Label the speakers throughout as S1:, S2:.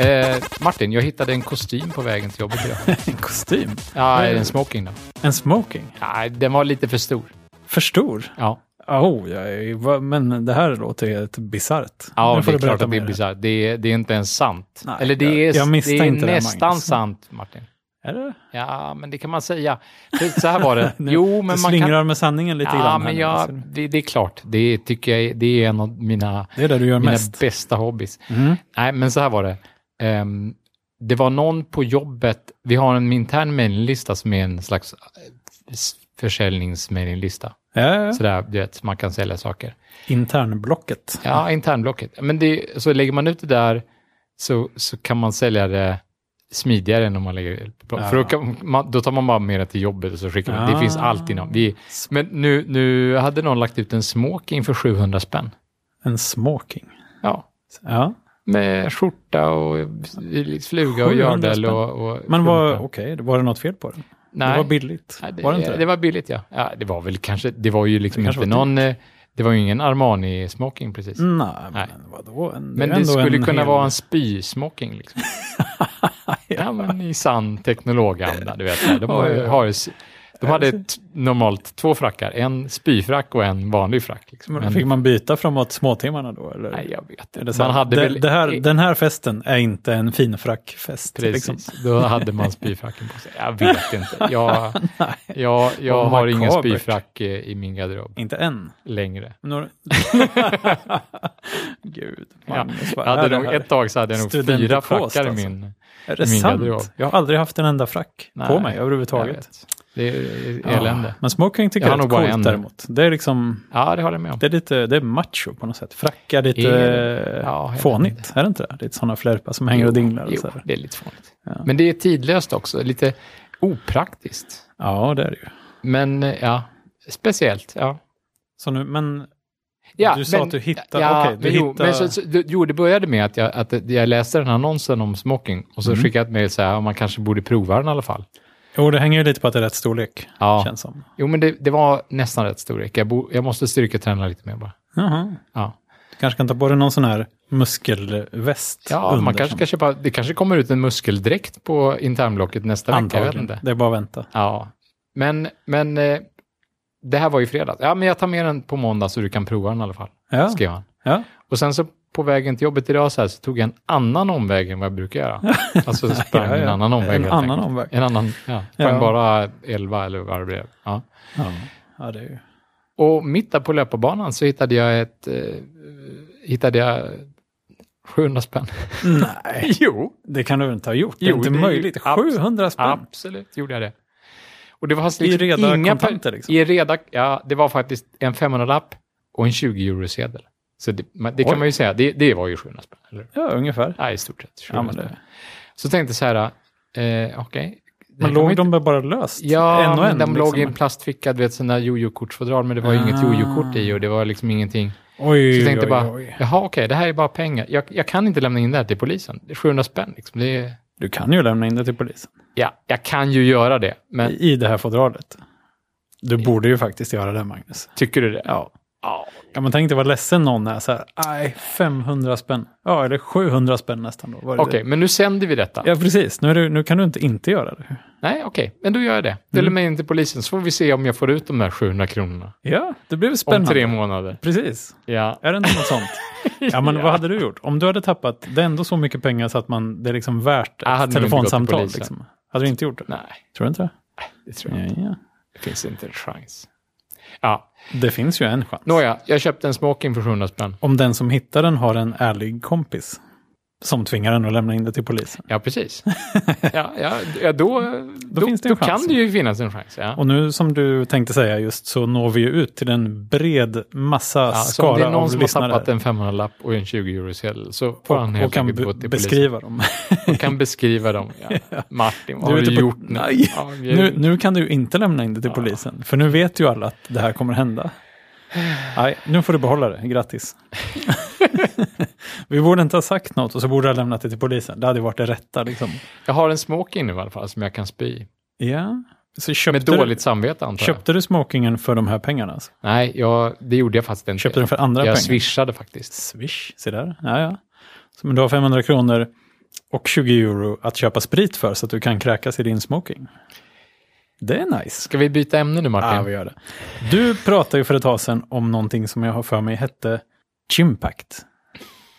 S1: Eh, Martin, jag hittade en kostym på vägen till jobbet idag.
S2: En kostym?
S1: Ja, en smoking då.
S2: En smoking?
S1: Nej, den var lite för stor.
S2: För stor?
S1: Ja,
S2: Oh, jag är, va- men det här låter helt bisarrt.
S1: ja
S2: Nu får
S1: det är
S2: du berätta
S1: klart att det är
S2: mer.
S1: bisarrt. Det, är- det är inte ens sant.
S2: Nej,
S1: Eller det
S2: jag-
S1: är,
S2: jag
S1: det är
S2: misstänkte det,
S1: nästan
S2: Magnus.
S1: sant, Martin.
S2: Är det?
S1: Ja, men det kan man säga. För Så här var det.
S2: Nu-
S1: Jo,
S2: du
S1: men man
S2: slingrar
S1: kan...
S2: med sanningen lite
S1: Ja,
S2: grann. här
S1: men
S2: nu,
S1: jag,
S2: alltså.
S1: det, det är klart. Det tycker jag är, det är en av mina,
S2: Det är det du gör
S1: mina
S2: mest.
S1: bästa hobbys.
S2: Mm.
S1: Nej, men så här var det. Ehm, det var någon på jobbet, vi har en intern mejllista som är en slags eh, s- försäljningsmejllista.
S2: Ja, ja, ja.
S1: Sådär, du vet, man kan sälja saker.
S2: Internblocket.
S1: Ja, internblocket. Men det, så lägger man ut det där så, så kan man sälja det smidigare än om man lägger det på
S2: Ja.
S1: För då, kan, man, då tar man bara med det till jobbet och så skickar man. Det
S2: Ah.
S1: finns alltid någon. Vi, men nu, nu hade någon lagt ut en smoking för 700 spänn.
S2: En smoking.
S1: Ja,
S2: Ja.
S1: med skjorta och fluga och
S2: 700
S1: gördel
S2: spänn.
S1: och, och...
S2: Men var, okej, var det något fel på den?
S1: Nej.
S2: Det var billigt.
S1: Nej, det,
S2: var det inte det?
S1: var billigt, ja. ja. Det var väl kanske, det var ju liksom
S2: Det
S1: inte
S2: kanske var
S1: någon, eh, det var ju ingen Armani-smoking precis.
S2: Nej,
S1: Nej.
S2: men vadå? En,
S1: Men
S2: är
S1: det
S2: ändå
S1: skulle
S2: en
S1: kunna
S2: hel-
S1: vara en spy-smoking liksom. ja, men i sann teknologanda, du vet. så här. De, har,
S2: Oj, oj.
S1: har, de hade t- normalt två frackar, en spyfrack och en vanlig frack. Liksom.
S2: Men
S1: Men-
S2: Fick man byta framåt småtimmarna då? Eller?
S1: nej, jag vet
S2: Är
S1: inte.
S2: det så
S1: Man
S2: här,
S1: hade
S2: det,
S1: väl...
S2: det här,
S1: i-
S2: den här festen är inte en finfrackfest. liksom.
S1: Precis, då hade man spyfracken på sig. Jag vet inte. Jag, jag, jag
S2: Vad
S1: har ingen
S2: makabert.
S1: spyfrack eh, i min garderob
S2: Inte än.
S1: längre.
S2: Några... Gud,
S1: Ja.
S2: Magnus,
S1: Jag
S2: vad
S1: hade
S2: är det
S1: nog,
S2: här?
S1: ett tag så hade jag nog fyra
S2: Studentikost,
S1: frackar i
S2: alltså.
S1: min...
S2: Är det
S1: min
S2: sant?
S1: garderob.
S2: Jag har aldrig haft en enda frack på
S1: Nej,
S2: mig
S1: Jag
S2: överhuvudtaget.
S1: vet. Det är
S2: Ja,
S1: elände.
S2: Men smoking tycker
S1: Jag
S2: jag,
S1: har
S2: är
S1: nog bara
S2: rätt
S1: en.
S2: coolt däremot. Det är liksom,
S1: Ja, det håller jag med om.
S2: det är lite, det är macho på något sätt. Fracka lite
S1: Är- ja, jag
S2: eh,
S1: vet
S2: fånigt, är det inte det? Lite sådana flärpar som hänger och dinglar och
S1: Jo,
S2: så här.
S1: det är lite fånigt.
S2: Ja.
S1: Men det är tidlöst också, lite opraktiskt.
S2: Ja, det är det ju.
S1: Men eh, ja, speciellt. Ja.
S2: Så nu, men
S1: Ja,
S2: du sa
S1: men-
S2: att du hittade,
S1: ja,
S2: okej, du
S1: men jo,
S2: hittade,
S1: men så, så, det- jo, det började med att jag, att jag läste den här annonsen om smoking och så
S2: Mm.
S1: skickade jag ett mejl så här, "Ja, man kanske borde prova den i alla fall.
S2: jo det hänger ju lite på att det är rätt storlek,
S1: Ja,
S2: känns som.
S1: jo men det, det var nästan rätt storlek. Jag, bo, jag måste styrketräna lite mer bara.
S2: Jaha.
S1: Ja,
S2: Du kanske kan ta på dig någon sån här muskelväst
S1: ja
S2: under
S1: man kanske
S2: som-
S1: kan köpa, det kanske kommer ut en muskeldräkt på internblocket nästa vecka, jag vet
S2: Antagligen,
S1: inte.
S2: det är bara att vänta.
S1: Ja, men, men eh, det här var ju fredag. Ja, men jag tar med den på måndag så du kan prova den i alla fall,
S2: Ja,
S1: skrev han.
S2: ja.
S1: Och sen så på vägen till jobbet idag så, här, så tog jag en annan omväg än vad jag brukar göra. Alltså sprang
S2: ja, ja.
S1: en annan omväg.
S2: En
S1: helt
S2: annan
S1: enkelt.
S2: omväg.
S1: En annan, ja. Sprang
S2: Ja.
S1: bara 11 eller vad det blev. Ja.
S2: Ja. ja, det är ju...
S1: Och mitt där på löparbanan så hittade jag ett... Eh, hittade jag 700 spänn.
S2: Nej,
S1: jo,
S2: det kan du väl inte ha gjort? Det är
S1: Jo,
S2: inte
S1: det är ju-
S2: möjligt.
S1: absolut.
S2: 700 spänn?
S1: absolut gjorde jag det. Och det var alltså
S2: I
S1: liksom
S2: reda
S1: inga
S2: kontanter,
S1: per-
S2: liksom?
S1: I reda, ja, det var faktiskt en 500-lapp och en 20-eurosedel. Så det, man, det
S2: Oj.
S1: kan man ju säga, det, det var ju 700 spänn. Eller?
S2: Ja, ungefär.
S1: Nej, i stort sett. 700
S2: Ja, men
S1: spänn.
S2: det,
S1: Så tänkte jag så här, eh, okej. Det här
S2: men
S1: kan
S2: låg
S1: man ju
S2: de bara löst?
S1: inte- Ja,
S2: en och en?
S1: men de låg i en
S2: liksom.
S1: plastficka, du vet sådana jojo-kortsfodral, men det var ju inget
S2: Ah.
S1: jojo-kort i och det var liksom ingenting.
S2: Oj,
S1: Så jag
S2: oj,
S1: tänkte
S2: oj,
S1: bara,
S2: oj.
S1: jaha okej, det här är bara pengar. Jag, jag kan inte lämna in det här till polisen. Det är 700 spänn liksom. Det är,
S2: Du kan ju lämna in det till polisen.
S1: ja, jag kan ju göra det, men
S2: I i det här fodralet. Du borde ju faktiskt göra det, Magnus.
S1: tycker du det?
S2: Ja.
S1: Ja.
S2: Ja, men tänk dig vad ledsen någon är så här. Nej, 500 spänn. Ja, eller 700 spänn nästan då. Var det
S1: Okej, men nu sänder vi detta.
S2: det? Ja, precis. Nu, är du, nu kan du inte inte göra det.
S1: Nej, okej, men då gör jag det.
S2: Mm.
S1: Det lämnar jag in till polisen, så får vi se om jag får ut de här 700 kronorna.
S2: Ja, det blev
S1: Om
S2: spännande.
S1: tre månader.
S2: Precis.
S1: Ja.
S2: Är det inte något sånt? Ja, men vad hade du gjort? Om du hade tappat, det är ändå så mycket pengar så att man, det är liksom värt
S1: Jag hade nog
S2: ett
S1: inte gått till
S2: telefonsamtal.
S1: polisen.
S2: Liksom. Hade du inte gjort det?
S1: Nej,
S2: Tror du inte det?
S1: det tror jag inte.
S2: Ja, ja.
S1: Det finns inte en chans. Ja,
S2: Det finns ju en chans.
S1: nåja, jag köpte en smoking för 700 spänn.
S2: Om den som hittar den har en ärlig kompis som tvingar den att lämna in det till polisen.
S1: Ja, precis. ja, ja, ja, då då,
S2: finns det en
S1: då
S2: chans.
S1: kan det ju finnas en chans. Ja.
S2: Och nu som du tänkte säga just så når vi ju ut till en bred massa
S1: Ja, så om det
S2: skara
S1: är någon
S2: av
S1: som har
S2: lyssnare.
S1: tappat en 500-lapp och en 20-eurosedel så får han
S2: och, och
S1: helt
S2: kan
S1: enkelt
S2: be-
S1: gå till polisen
S2: beskriva dem.
S1: och kan beskriva dem. Ja. Martin, vad
S2: Du
S1: har
S2: är
S1: du
S2: ute på-
S1: gjort nu?
S2: Nej.
S1: Ja, vi-
S2: Nu, nu kan du ju inte lämna in det till polisen, för nu vet ju alla att det här kommer hända. Nej, nu får du behålla det. Grattis. Vi borde inte ha sagt något och så borde du ha lämnat det till polisen. Det hade ju varit det rätta. Liksom.
S1: Jag har en smoking nu i alla fall som jag kan spy i.
S2: Ja. Så köpte,
S1: Med dåligt samvete antar
S2: du,
S1: jag.
S2: köpte du smokingen för de här pengarna? Alltså?
S1: Nej, jag, det gjorde jag faktiskt inte.
S2: Köpte den för andra
S1: jag
S2: pengar?
S1: swishade faktiskt.
S2: Swish, se där. Ja, ja. Så, men du har 500 kronor Och 20 euro att köpa sprit för så att du kan kräkas i din smoking. Det är nice.
S1: Ska Ah, vi byta ämne nu Martin?
S2: Ja, Ah, vi gör det. Du pratade ju för ett tag sedan om någonting som jag har för mig hette Chimpact.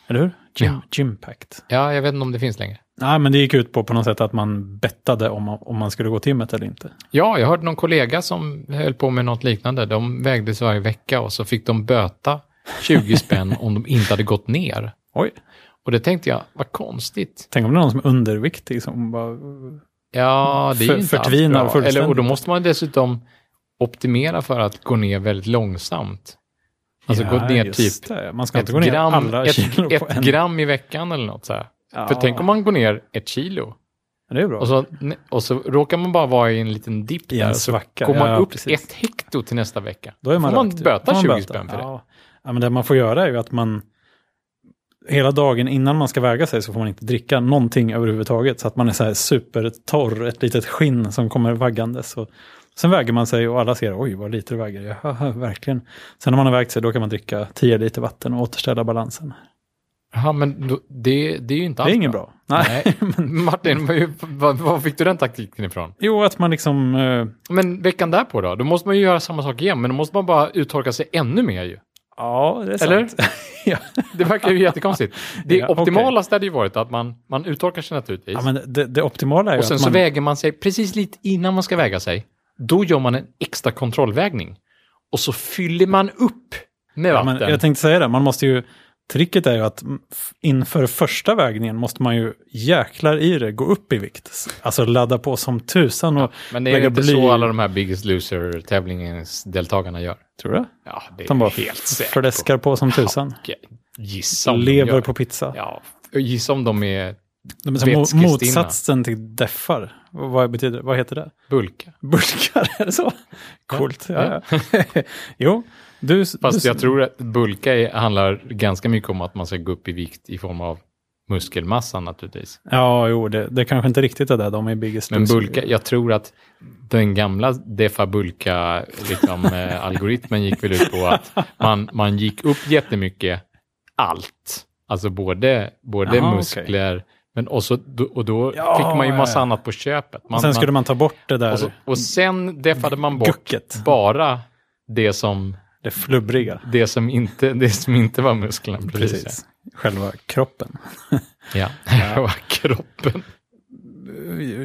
S2: Eller hur? Chim,
S1: Ja.
S2: Chimpact.
S1: ja, jag vet inte om det finns längre.
S2: Nej, men det gick ut på på något sätt att man bettade om, man- om man skulle gå timmet eller inte.
S1: Ja, jag hörde någon kollega som höll på med något liknande. De vägdes varje vecka och så fick de böta 20 spänn om de inte hade gått ner.
S2: Oj,
S1: Och det tänkte jag, vad konstigt.
S2: tänk om det är någon som är underviktig som bara...
S1: Ja, det är ju
S2: Mm. För-
S1: inte alls
S2: förtvinar
S1: bra.
S2: fullständigt.
S1: Eller, och då måste man dessutom optimera för att gå ner väldigt långsamt. Alltså gå ner
S2: just
S1: typ
S2: det. Man ska
S1: ett
S2: inte gå ner
S1: gram,
S2: alla kilo
S1: ett,
S2: på
S1: ett
S2: en.
S1: gram i veckan eller något så här.
S2: Ja,
S1: För tänk om man går ner ett kilo
S2: Det är bra.
S1: och så, och så råkar man bara vara i en liten dipp
S2: I en
S1: där. Så
S2: svacka.
S1: går man
S2: Ja,
S1: upp
S2: precis.
S1: ett hekto till nästa vecka.
S2: Då är man
S1: får man
S2: rakt ut.
S1: böta
S2: Får man
S1: 20
S2: böta?
S1: spänn för det.
S2: Ja. ja, men det man får göra är ju att man hela dagen innan man ska väga sig så får man inte dricka någonting överhuvudtaget så att man är så här supertorr, ett litet skinn som kommer vaggandes. Och sen väger man sig och alla ser oj vad lite du väger, jag, haha, verkligen. Sen när man har vägt sig då kan man dricka 10 liter vatten och återställa balansen.
S1: Ja, men då, det, det är ju inte
S2: Det
S1: alls
S2: är inget bra. Nej.
S1: Nej, Martin, var, var fick du den taktiken ifrån?
S2: Jo, att man liksom, eh,
S1: Men veckan därpå då? Då måste man ju göra samma sak igen, men då måste man bara uttorka sig ännu mer ju.
S2: ja det är sant.
S1: Eller?
S2: ja.
S1: Det verkar ju jättekonstigt. Det
S2: Ja, okej.
S1: optimalaste hade ju varit att man, man uttorkar sig naturligtvis.
S2: ja, men det, det optimala är
S1: och
S2: ju
S1: sen
S2: att
S1: så
S2: man...
S1: väger man sig precis lite innan man ska väga sig. Då gör man en extra kontrollvägning. Och så fyller man upp med
S2: Ja,
S1: vatten.
S2: men jag tänkte säga det, man måste ju, tricket är ju att mm, f- inför första vägningen måste man ju jäklar i det gå upp i vikt. S- Alltså ladda på som tusan och
S1: Men det är
S2: lägga
S1: inte
S2: bly-
S1: så alla de här Biggest Loser-tävlingens deltagarna gör.
S2: Tror du?
S1: Ja, det är
S2: De bara
S1: jag helt säkert.
S2: Fläskar på som tusan.
S1: Gissa om de
S2: Lever
S1: gör.
S2: på pizza.
S1: Ja, gissa om de är
S2: De är som mo-
S1: vätskestinna.
S2: motsatsen till deffar. Vad betyder Vad heter det?
S1: bulka.
S2: Burkar, är det så? Coolt. Ja. ja. jo, du...
S1: Fast
S2: du,
S1: jag tror att bulka är, handlar ganska mycket om att man ska gå upp i vikt i form av muskelmassa naturligtvis.
S2: Ja, jo, det, det kanske inte riktigt är det de är Biggest
S1: Men
S2: Loser.
S1: bulka, jag tror att den gamla defa-bulka liksom, eh, algoritmen gick väl ut på att man, man gick upp jättemycket allt. Alltså både, både
S2: Jaha, okej.
S1: muskler, men också, och då
S2: Ja,
S1: fick man ju massa
S2: ja, ja.
S1: annat på köpet. Man,
S2: Sen skulle man ta bort det
S1: man,
S2: där
S1: och, så, och sen deffade man bort
S2: gucket,
S1: bara det som,
S2: det flubbriga.
S1: det som, inte, det som inte var musklerna. Precis.
S2: Precis. Själva kroppen.
S1: Ja, det var kroppen.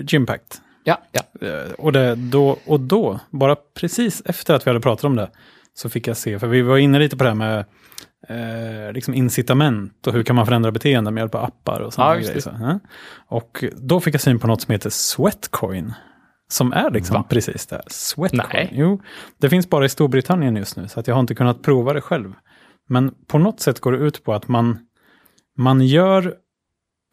S2: Gympact.
S1: Ja, ja.
S2: Eh, Och, det, då, och då, bara precis efter att vi hade pratat om det, så fick jag se, för vi var inne lite på det här med eh, liksom incitament och hur kan man förändra beteenden med hjälp av appar och sådana
S1: Ja, just
S2: grejer. Så, ja. Och då fick jag syn på något som heter Sweatcoin. Som är liksom
S1: Va?
S2: precis det här. Sweatcoin.
S1: Nej.
S2: Jo, det finns bara i Storbritannien just nu, så att jag har inte kunnat prova det själv. Men på något sätt går det ut på att man, man gör,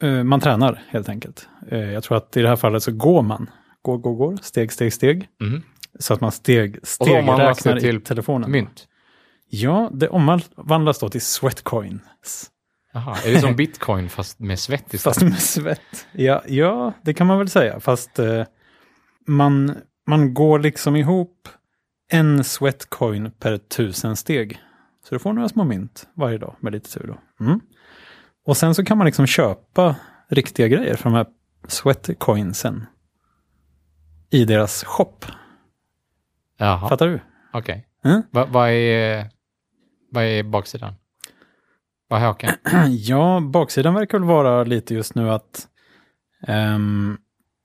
S2: eh, man tränar helt enkelt. Eh, jag tror att i det här fallet så går man. Går, går, går, steg, steg, steg.
S1: Mhm.
S2: Så att man steg,
S1: Och då har
S2: steg
S1: man lagt
S2: räknar
S1: det
S2: till
S1: till
S2: telefonen.
S1: Mynt.
S2: Ja, det omvandlas då till sweatcoins.
S1: Jaha, är det som bitcoin fast med svett istället?
S2: Fast med svett. Ja, ja, det kan man väl säga. Fast eh, man, man går liksom ihop en sweatcoin per tusen steg. Så du får några små mynt varje dag med lite tur då. Mm. Och sen så kan man liksom köpa riktiga grejer för de här sweatcoinsen. I deras shop.
S1: Jaha,
S2: Fattar du?
S1: okej.
S2: Mm.
S1: Va- Vad är, vad är baksidan? Vad är haken?
S2: Ja, baksidan verkar väl vara lite just nu att ehm,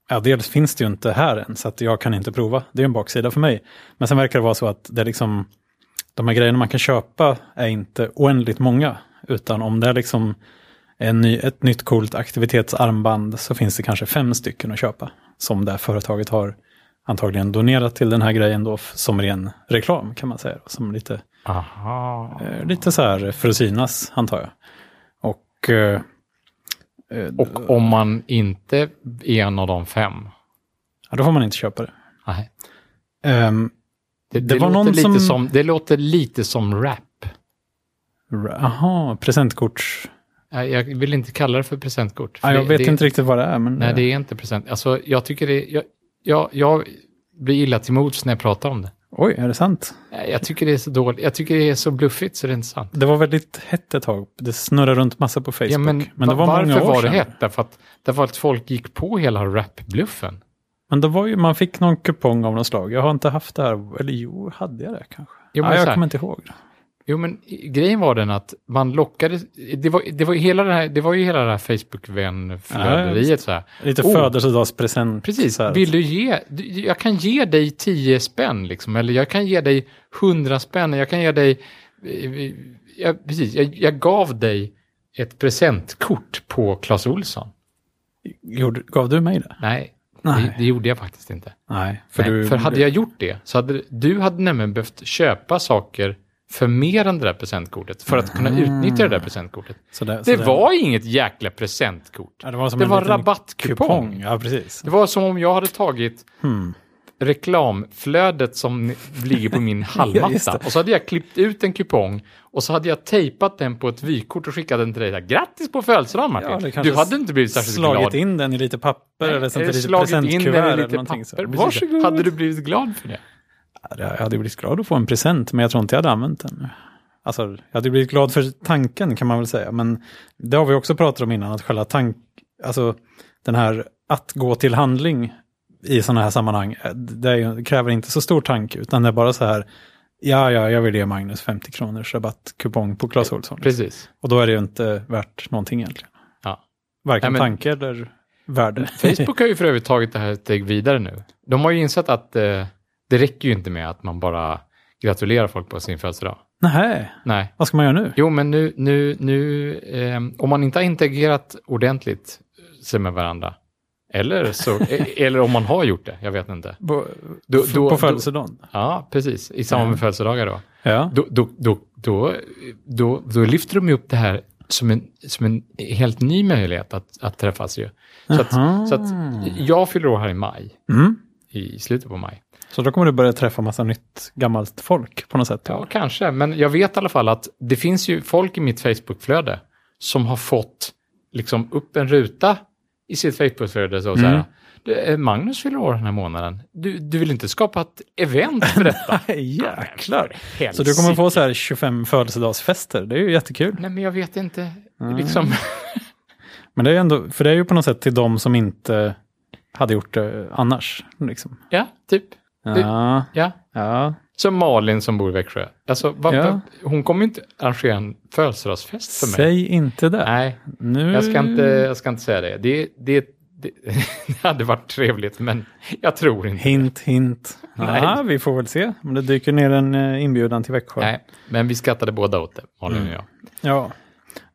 S2: ja, dels finns det ju inte här än, så att jag kan inte prova. Det är en baksida för mig. Men sen verkar det vara så att det är liksom, de här grejerna man kan köpa är inte oändligt många, utan om det är liksom en ny, ett nytt coolt aktivitetsarmband så finns det kanske fem stycken att köpa, som det här företaget har antagligen donerat till den här grejen då, f- som ren reklam kan man säga, då, som lite
S1: Aha.
S2: Eh, Lite så här för att synas, antar jag. Och... eh, eh,
S1: Och om man inte är en av de fem?
S2: ja, då får man inte köpa det.
S1: Nej.
S2: Ehm,
S1: Det, det,
S2: Det var
S1: låter
S2: någon
S1: lite
S2: som-
S1: som... det låter lite som rap.
S2: ra- Jaha, presentkorts...
S1: Nej, Jag vill inte kalla det för presentkort. för
S2: Ja, jag
S1: det,
S2: vet
S1: det,
S2: inte riktigt vad det är, men...
S1: Nej, det är inte present. Alltså, jag tycker det... Jag, jag, jag blir illa till mods när jag pratar om det.
S2: eh, Oj, är det sant?
S1: Nej, Jag tycker det är så dåligt. Jag tycker det är så bluffigt så det är inte sant.
S2: Det var väldigt hett ett tag. Det snurrade runt massa på Facebook.
S1: Ja, men,
S2: det var
S1: varför
S2: många år
S1: var det
S2: sedan.
S1: hett? Därför att, därför att folk gick på hela rapbluffen.
S2: Men det var ju, man fick någon kupong av något slag. Jag har inte haft det här. Eller jo, hade jag det kanske?
S1: Jo, men
S2: Nej,
S1: så
S2: jag
S1: här.
S2: kommer inte ihåg.
S1: Jo, men i- grejen var den att man lockade... Det var, det var, hela det här, det var ju hela det här Facebook-vänflöderiet. så här.
S2: Lite
S1: Oh.
S2: födelsedagspresent.
S1: Precis,
S2: så här.
S1: vill du ge... du- Jag kan ge dig 10 spänn, liksom, eller jag kan ge dig 100 spänn, jag kan ge dig... Jag, precis, jag, jag gav dig ett presentkort på Clas Olsson.
S2: Gjorde, gav du mig det?
S1: Nej, Det,
S2: Nej.
S1: det gjorde jag faktiskt inte.
S2: Nej, för,
S1: För, Nej,
S2: du,
S1: för hade jag gjort det så hade du hade nämligen behövt köpa saker för mer än det där presentkortet för att
S2: Ah.
S1: kunna utnyttja det där presentkortet.
S2: så där- så
S1: Det
S2: där-
S1: var inget jäkla presentkort.
S2: Alltså Ja, det var, som
S1: Det
S2: en
S1: var
S2: liten
S1: rabattkupong.
S2: kupong. Ja, precis.
S1: Det var som om jag hade tagit
S2: Hmm.
S1: reklamflödet som ni- ligger på min
S2: Ja, just
S1: hallmatta
S2: det.
S1: och så hade jag klippt ut en kupong och så hade jag tejpat den på ett vykort och skickat den till dig. Så här, Grattis på födelsedagen
S2: Ja,
S1: Martin!
S2: det kanske
S1: du hade inte blivit särskilt
S2: slagit
S1: glad. Eh,
S2: in den i lite papper eller sånt där litet
S1: slagit in
S2: presentkuvert
S1: den i
S2: eller
S1: lite
S2: någonting. så.
S1: papper.
S2: Precis.
S1: Varsågod! Hade du blivit glad för det?
S2: Ja, Jag hade blivit glad att få en present, men jag tror inte jag hade använt den. Alltså, jag hade blivit glad för tanken kan man väl säga, men det har vi också pratat om innan, att själva tank, alltså den här att gå till handling i sådana här sammanhang, eh, det är ju- kräver inte så stor tanke, utan det är bara så här, ja, ja, jag vill ge Magnus 50 kronors rabattkupong på Clas Ohlson.
S1: Precis.
S2: Och då är det ju inte värt någonting egentligen.
S1: Ja.
S2: Varken
S1: Nej, men-
S2: tanke eller värde.
S1: Facebook har ju för övrigt tagit det här ett steg vidare nu. De har ju insett att eh, det räcker ju inte med att man bara gratulerar folk på sin födelsedag.
S2: Nej,
S1: Nej.
S2: vad ska man göra nu?
S1: Jo, men nu, nu, nu ehm, om man inte har integrerat ordentligt eh, sig med varandra, eller, så, e- eller om man har gjort det, jag vet inte.
S2: På,
S1: Då- då-
S2: på
S1: då-
S2: födelsedagen?
S1: Ja, precis, i samband med födelsedagar då.
S2: Ja.
S1: Då, då, då, då, då, då lyfter de ju upp det här som en, som en helt ny möjlighet att, att träffas ju. Så att,
S2: Aha.
S1: så att jag fyller år här i maj,
S2: Mm.
S1: i slutet på maj.
S2: Så då kommer du börja träffa massa nytt gammalt folk på något sätt?
S1: Ja, kanske. Men jag vet i alla fall att det finns ju folk i mitt Facebookflöde som har fått liksom upp en ruta i sitt Facebookflöde. Så,
S2: Mm.
S1: så här, "Du, eh, Magnus fyller år den här månaden. Du, du vill inte skapa ett event för detta?
S2: Jäklar!
S1: Helsike.
S2: Så du kommer få så här 25 födelsedagsfester, det är ju jättekul.
S1: Nej, men jag vet inte.
S2: Mm.
S1: Liksom,
S2: Men det är ändå, för det är ju på något sätt till de som inte hade gjort det annars. Liksom.
S1: ja, typ.
S2: Ja,
S1: Ja.
S2: ja.
S1: Som Malin som bor i Växjö. Alltså, vad-
S2: Ja.
S1: vad- hon kommer ju inte arrangera en födelsedagsfest för mig.
S2: Säg inte det.
S1: Nej,
S2: Nu...
S1: Jag ska inte, jag ska inte säga det. Det, det, det. det hade varit trevligt, men jag tror inte.
S2: Hint, hint.
S1: Nej.
S2: Ja, vi får väl se om det dyker ner en eh, inbjudan till Växjö.
S1: Nej, men vi skrattade båda åt det, Malin och jag.
S2: Ja.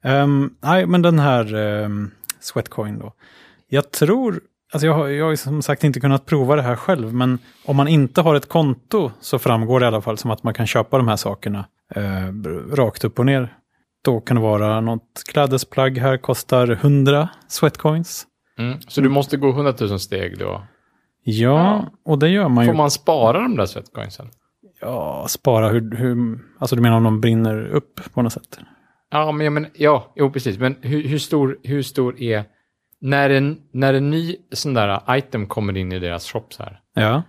S2: Ehm, nej, men den här ehm, Sweatcoin då. Jag tror, alltså jag har, jag har ju som sagt inte kunnat prova det här själv, men om man inte har ett konto så framgår det i alla fall som att man kan köpa de här sakerna eh, br- rakt upp och ner. Då kan det vara något klädesplagg här kostar 100 Sweatcoins.
S1: Mm. Så du måste gå 100 000 steg då.
S2: Ja, och det gör man ju.
S1: Får man spara de där sweatcoinsen?
S2: Ja, spara hur, hur, alltså du menar om de brinner upp på något sätt?
S1: Ja, men, ja, men ja, jo, precis. Men hur, hur, stor, hur stor är... När en, när en ny sån där item kommer in i deras shop så här,
S2: Ja.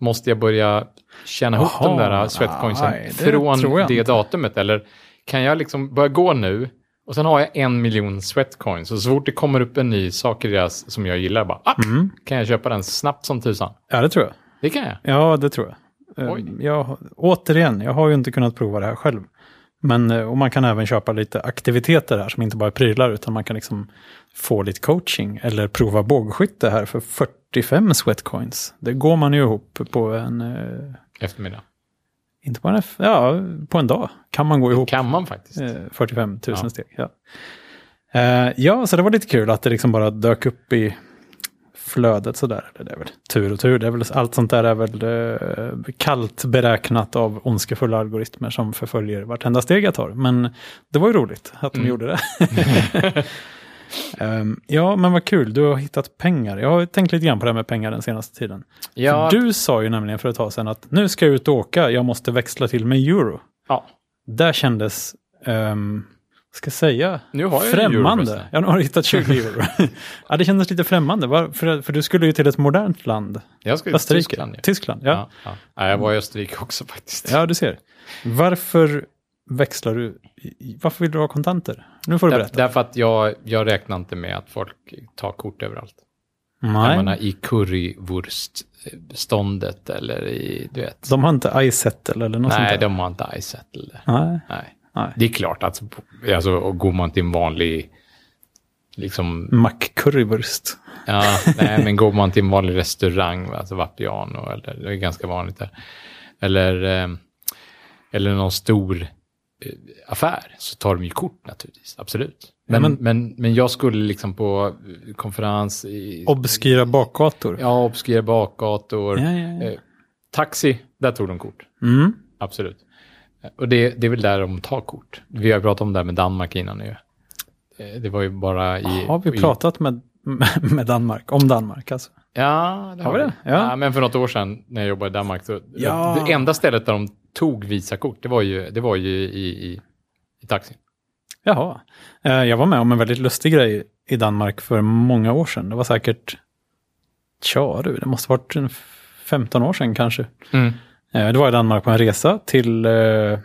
S1: måste jag börja tjäna ihop
S2: Jaha,
S1: de där sweatcoinsen
S2: nej, det tror
S1: från
S2: jag
S1: det
S2: inte.
S1: datumet? Eller kan jag liksom börja gå nu och sen har jag en miljon sweatcoins och så fort det kommer upp en ny sak i deras som jag gillar, bara, ah,
S2: Mm.
S1: kan jag köpa den snabbt som tusan?
S2: ja, det tror jag.
S1: Det kan jag.
S2: Ja, det tror jag. Eh,
S1: Oj.
S2: jag. Återigen, jag har ju inte kunnat prova det här själv. Men, eh, och man kan även köpa lite aktiviteter här som inte bara är prylar, utan man kan liksom få lite coaching eller prova bågskytte här för 45 sweatcoins. Det går man ju ihop på en, eh,
S1: Eftermiddag.
S2: inte bara en, f- ja, på en dag kan man gå ihop
S1: Kan man faktiskt.
S2: eh, 45 000
S1: Ja.
S2: steg. Ja. Eh, ja, så det var lite kul att det liksom bara dök upp i flödet sådär. Eller Det är väl tur och tur, det är väl, allt sånt där är väl eh, kallt beräknat av ondskefulla algoritmer som förföljer vartenda steg jag tar. Men det var ju roligt att
S1: Mm.
S2: de gjorde det. Ehm, ja, men vad kul, du har hittat pengar. Jag har tänkt lite grann på det här med pengar den senaste tiden.
S1: Ja,
S2: Du sa ju nämligen för ett tag sedan att nu ska jag ut och åka, jag måste växla till mig euro
S1: ja.
S2: där kändes ehm, ska säga?
S1: Nu har jag ju euros
S2: främmande.
S1: där.
S2: Ja, nu har du hittat 20 euro. ja, det kändes lite främmande. Varför? För du skulle ju till ett modernt land.
S1: Jag ska till
S2: Österrike.
S1: Tyskland. ju.
S2: Tyskland, ja.
S1: Ja, ja. Nej, jag var i Österrike också faktiskt.
S2: Ja, du ser. Varför växlar du? i- Varför vill du ha kontanter? Nu får du
S1: Där,
S2: berätta.
S1: därför att jag, jag räknar inte med att folk tar kort överallt. Jag menar
S2: Nej,
S1: i currywurstståndet eller i, du vet.
S2: de har inte iSettle eller något
S1: Nej,
S2: sånt där.
S1: de har inte iSettle där.
S2: Nej,
S1: Nej.
S2: Nej.
S1: Det är klart att alltså, och går man till en vanlig, liksom,
S2: Mac-currywurst.
S1: ja, nej, men går man till en vanlig restaurang, alltså Vapiano, eller, det är ganska vanligt där, eller, eh, eller någon stor eh, affär, så tar de ju kort naturligtvis, absolut. Men,
S2: Ja, men-
S1: men, men, jag skulle liksom på eh, konferens i
S2: Obskyra bakgator.
S1: ja, obskyra bakgator,
S2: Ja, ja, ja.
S1: Eh, taxi, där tog de kort.
S2: Mm.
S1: Absolut. Eh, Och det, det är väl där de tar kort. Vi har ju pratat om det här med Danmark innan nu. Eh, Det var ju bara i...
S2: Har vi pratat med, med Danmark? Om Danmark alltså?
S1: I, ja, det har
S2: vi
S1: vi.
S2: det? Ja.
S1: men för något år sedan när jag jobbade i Danmark, så
S2: Ja.
S1: det enda stället där de tog Visakort, det var ju, det var ju i, i, i taxin.
S2: Jaha. Eh, Jag var med om en väldigt lustig grej i Danmark för många år sedan. Det var säkert, tja du, det måste varit en f- 15 år sedan kanske. Eh, Det var i Danmark på en resa till, eh,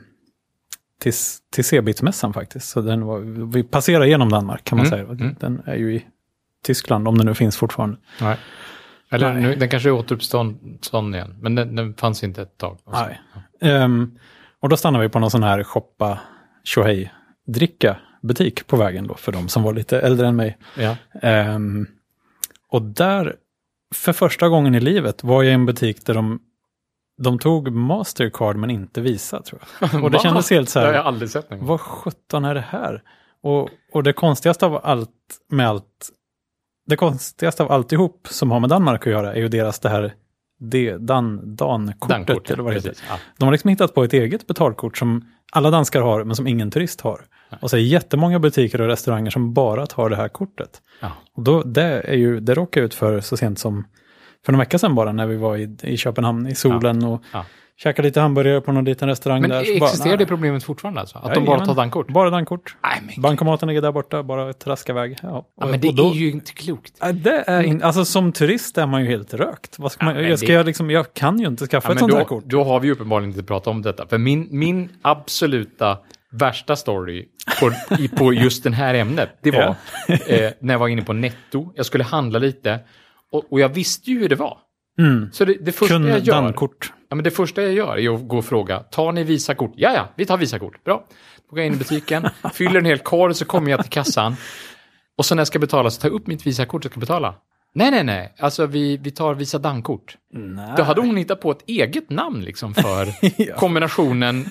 S2: till, till C-bitmässan faktiskt. Så den var, vi passerade genom Danmark kan man
S1: Mm,
S2: säga.
S1: mm.
S2: Den är ju i Tyskland, om den nu finns fortfarande.
S1: Nej. Eller
S2: Nej.
S1: Nu, den kanske är återuppstånden igen, men den, den fanns inte ett tag.
S2: Nej. Ehm, och då stannade vi på någon sån här shoppa tjohej dricka butik på vägen då, för de som var lite äldre än mig.
S1: Ja.
S2: Ehm, och där, för första gången i livet, var jag i en butik där de, de tog Mastercard men inte Visa tror jag. Och det
S1: Va?
S2: kändes helt så
S1: Det har
S2: här,
S1: jag aldrig sett någon gång.
S2: vad sjutton är det här? Och, och det konstigaste av allt med allt, det konstigaste av alltihop som har med Danmark att göra är ju deras det här D- Dan- Dan-kortet,
S1: Dankort, ja,
S2: eller vad det heter.
S1: precis. Ja.
S2: De har liksom hittat på ett eget betalkort som alla danskar har, men som ingen turist har. Och så är det jättemånga butiker och restauranger som bara tar det här kortet.
S1: Ja.
S2: Och då, det, är ju, det råkade jag ut för så sent som för någon vecka sedan bara, när vi var i, i Köpenhamn i solen och
S1: Ja.
S2: käkade lite hamburgare på någon liten restaurang
S1: Men
S2: där. så
S1: existerar
S2: bara,
S1: det
S2: nej,
S1: problemet fortfarande alltså? Att de
S2: Jajamän.
S1: bara tar dankort?
S2: Bara dankort.
S1: Nej, men,
S2: Bankomaten ligger där borta, bara traska iväg. Ja,
S1: ja,
S2: och-
S1: men det
S2: och då-
S1: är ju inte klokt.
S2: Ja, Det är in, alltså som turist är man ju helt rökt. Vad ska man,
S1: Ja, men
S2: jag, ska
S1: det-
S2: jag, liksom, jag kan ju inte skaffa
S1: Ja,
S2: ett
S1: men
S2: sånt här
S1: då,
S2: kort.
S1: då har vi ju uppenbarligen inte pratat om detta. För min, min absoluta värsta story på, i, på just det här ämnet, det var eh, när jag var inne på Netto. Jag skulle handla lite och, och jag visste ju hur det var.
S2: Mm.
S1: Så det, det, första
S2: Kun
S1: jag gör,
S2: dankort.
S1: ja, men det första jag gör är att gå och fråga, tar ni Visakort? Ja, ja, vi tar Visakort. Bra. Då går jag in i butiken, fyller en hel korg, så kommer jag till kassan. Och så när jag ska betala så tar jag upp mitt Visakort och ska betala. Nej, nej, nej, alltså vi, vi tar Visa Dankort.
S2: Nej.
S1: Då hade hon hittat på ett eget namn liksom för
S2: Ja.
S1: kombinationen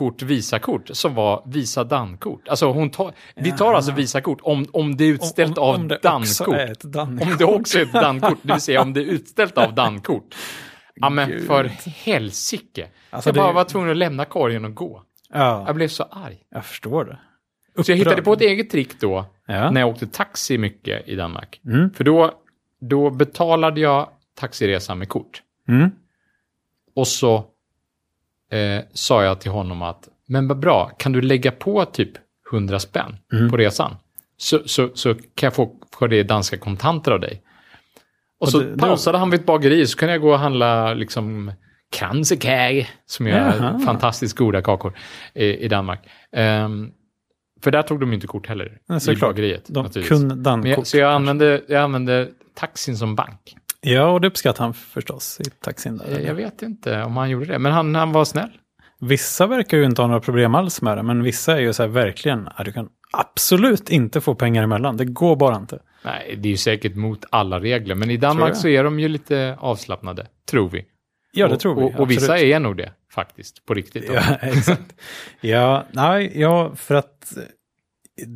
S1: dankort-visakort som var visa dankort. Alltså hon tar, vi tar alltså visakort om, om det är utställt av
S2: Ah. om det också
S1: dankort.
S2: är ett dankort.
S1: Om det också är ett dankort, det vill säga om det är utställt av dankort. Ja men
S2: Gud.
S1: för helsike.
S2: Alltså,
S1: jag
S2: det är
S1: bara
S2: ju-
S1: var tvungen att lämna korgen och gå.
S2: Ja,
S1: Jag blev så arg.
S2: jag förstår det.
S1: Så jag hittade på ett eget trick då,
S2: Ja.
S1: när jag åkte taxi mycket i Danmark.
S2: Mm.
S1: För då, då betalade jag taxiresan med kort.
S2: Mm.
S1: Och så eh, sa jag till honom att, men vad bra, kan du lägga på typ 100 spänn
S2: Mm.
S1: på resan? Så, så, så kan jag få för det danska kontanter av dig. Och, så
S2: det- det-
S1: pausade han vid ett bageri, så kunde jag gå och handla liksom kransekage, som gör
S2: Jaha.
S1: fantastiskt goda kakor i, i Danmark. Ehm, för där tog de ju inte kort heller,
S2: Nej,
S1: i
S2: såklart.
S1: bageriet.
S2: De,
S1: naturligtvis.
S2: kun
S1: Men jag,
S2: dankort.
S1: så jag använde, jag använde taxin som bank.
S2: Ja, och det uppskattar han förstås i taxin. Där.
S1: Eh, Jag vet inte om han gjorde det, men han, han var snäll.
S2: Vissa verkar ju inte ha några problem alls med det, men vissa är ju så här verkligen, ja, du kan absolut inte få pengar emellan, det går bara inte.
S1: Nej, det är ju säkert mot alla regler, men i
S2: Tror
S1: Danmark
S2: jag.
S1: så är de ju lite avslappnade, tror vi.
S2: Ja, det tror vi.
S1: Och, och, och vissa
S2: absolut.
S1: är nog det, faktiskt, på riktigt.
S2: Ja, exakt. Ja, nej, ja, för att eh,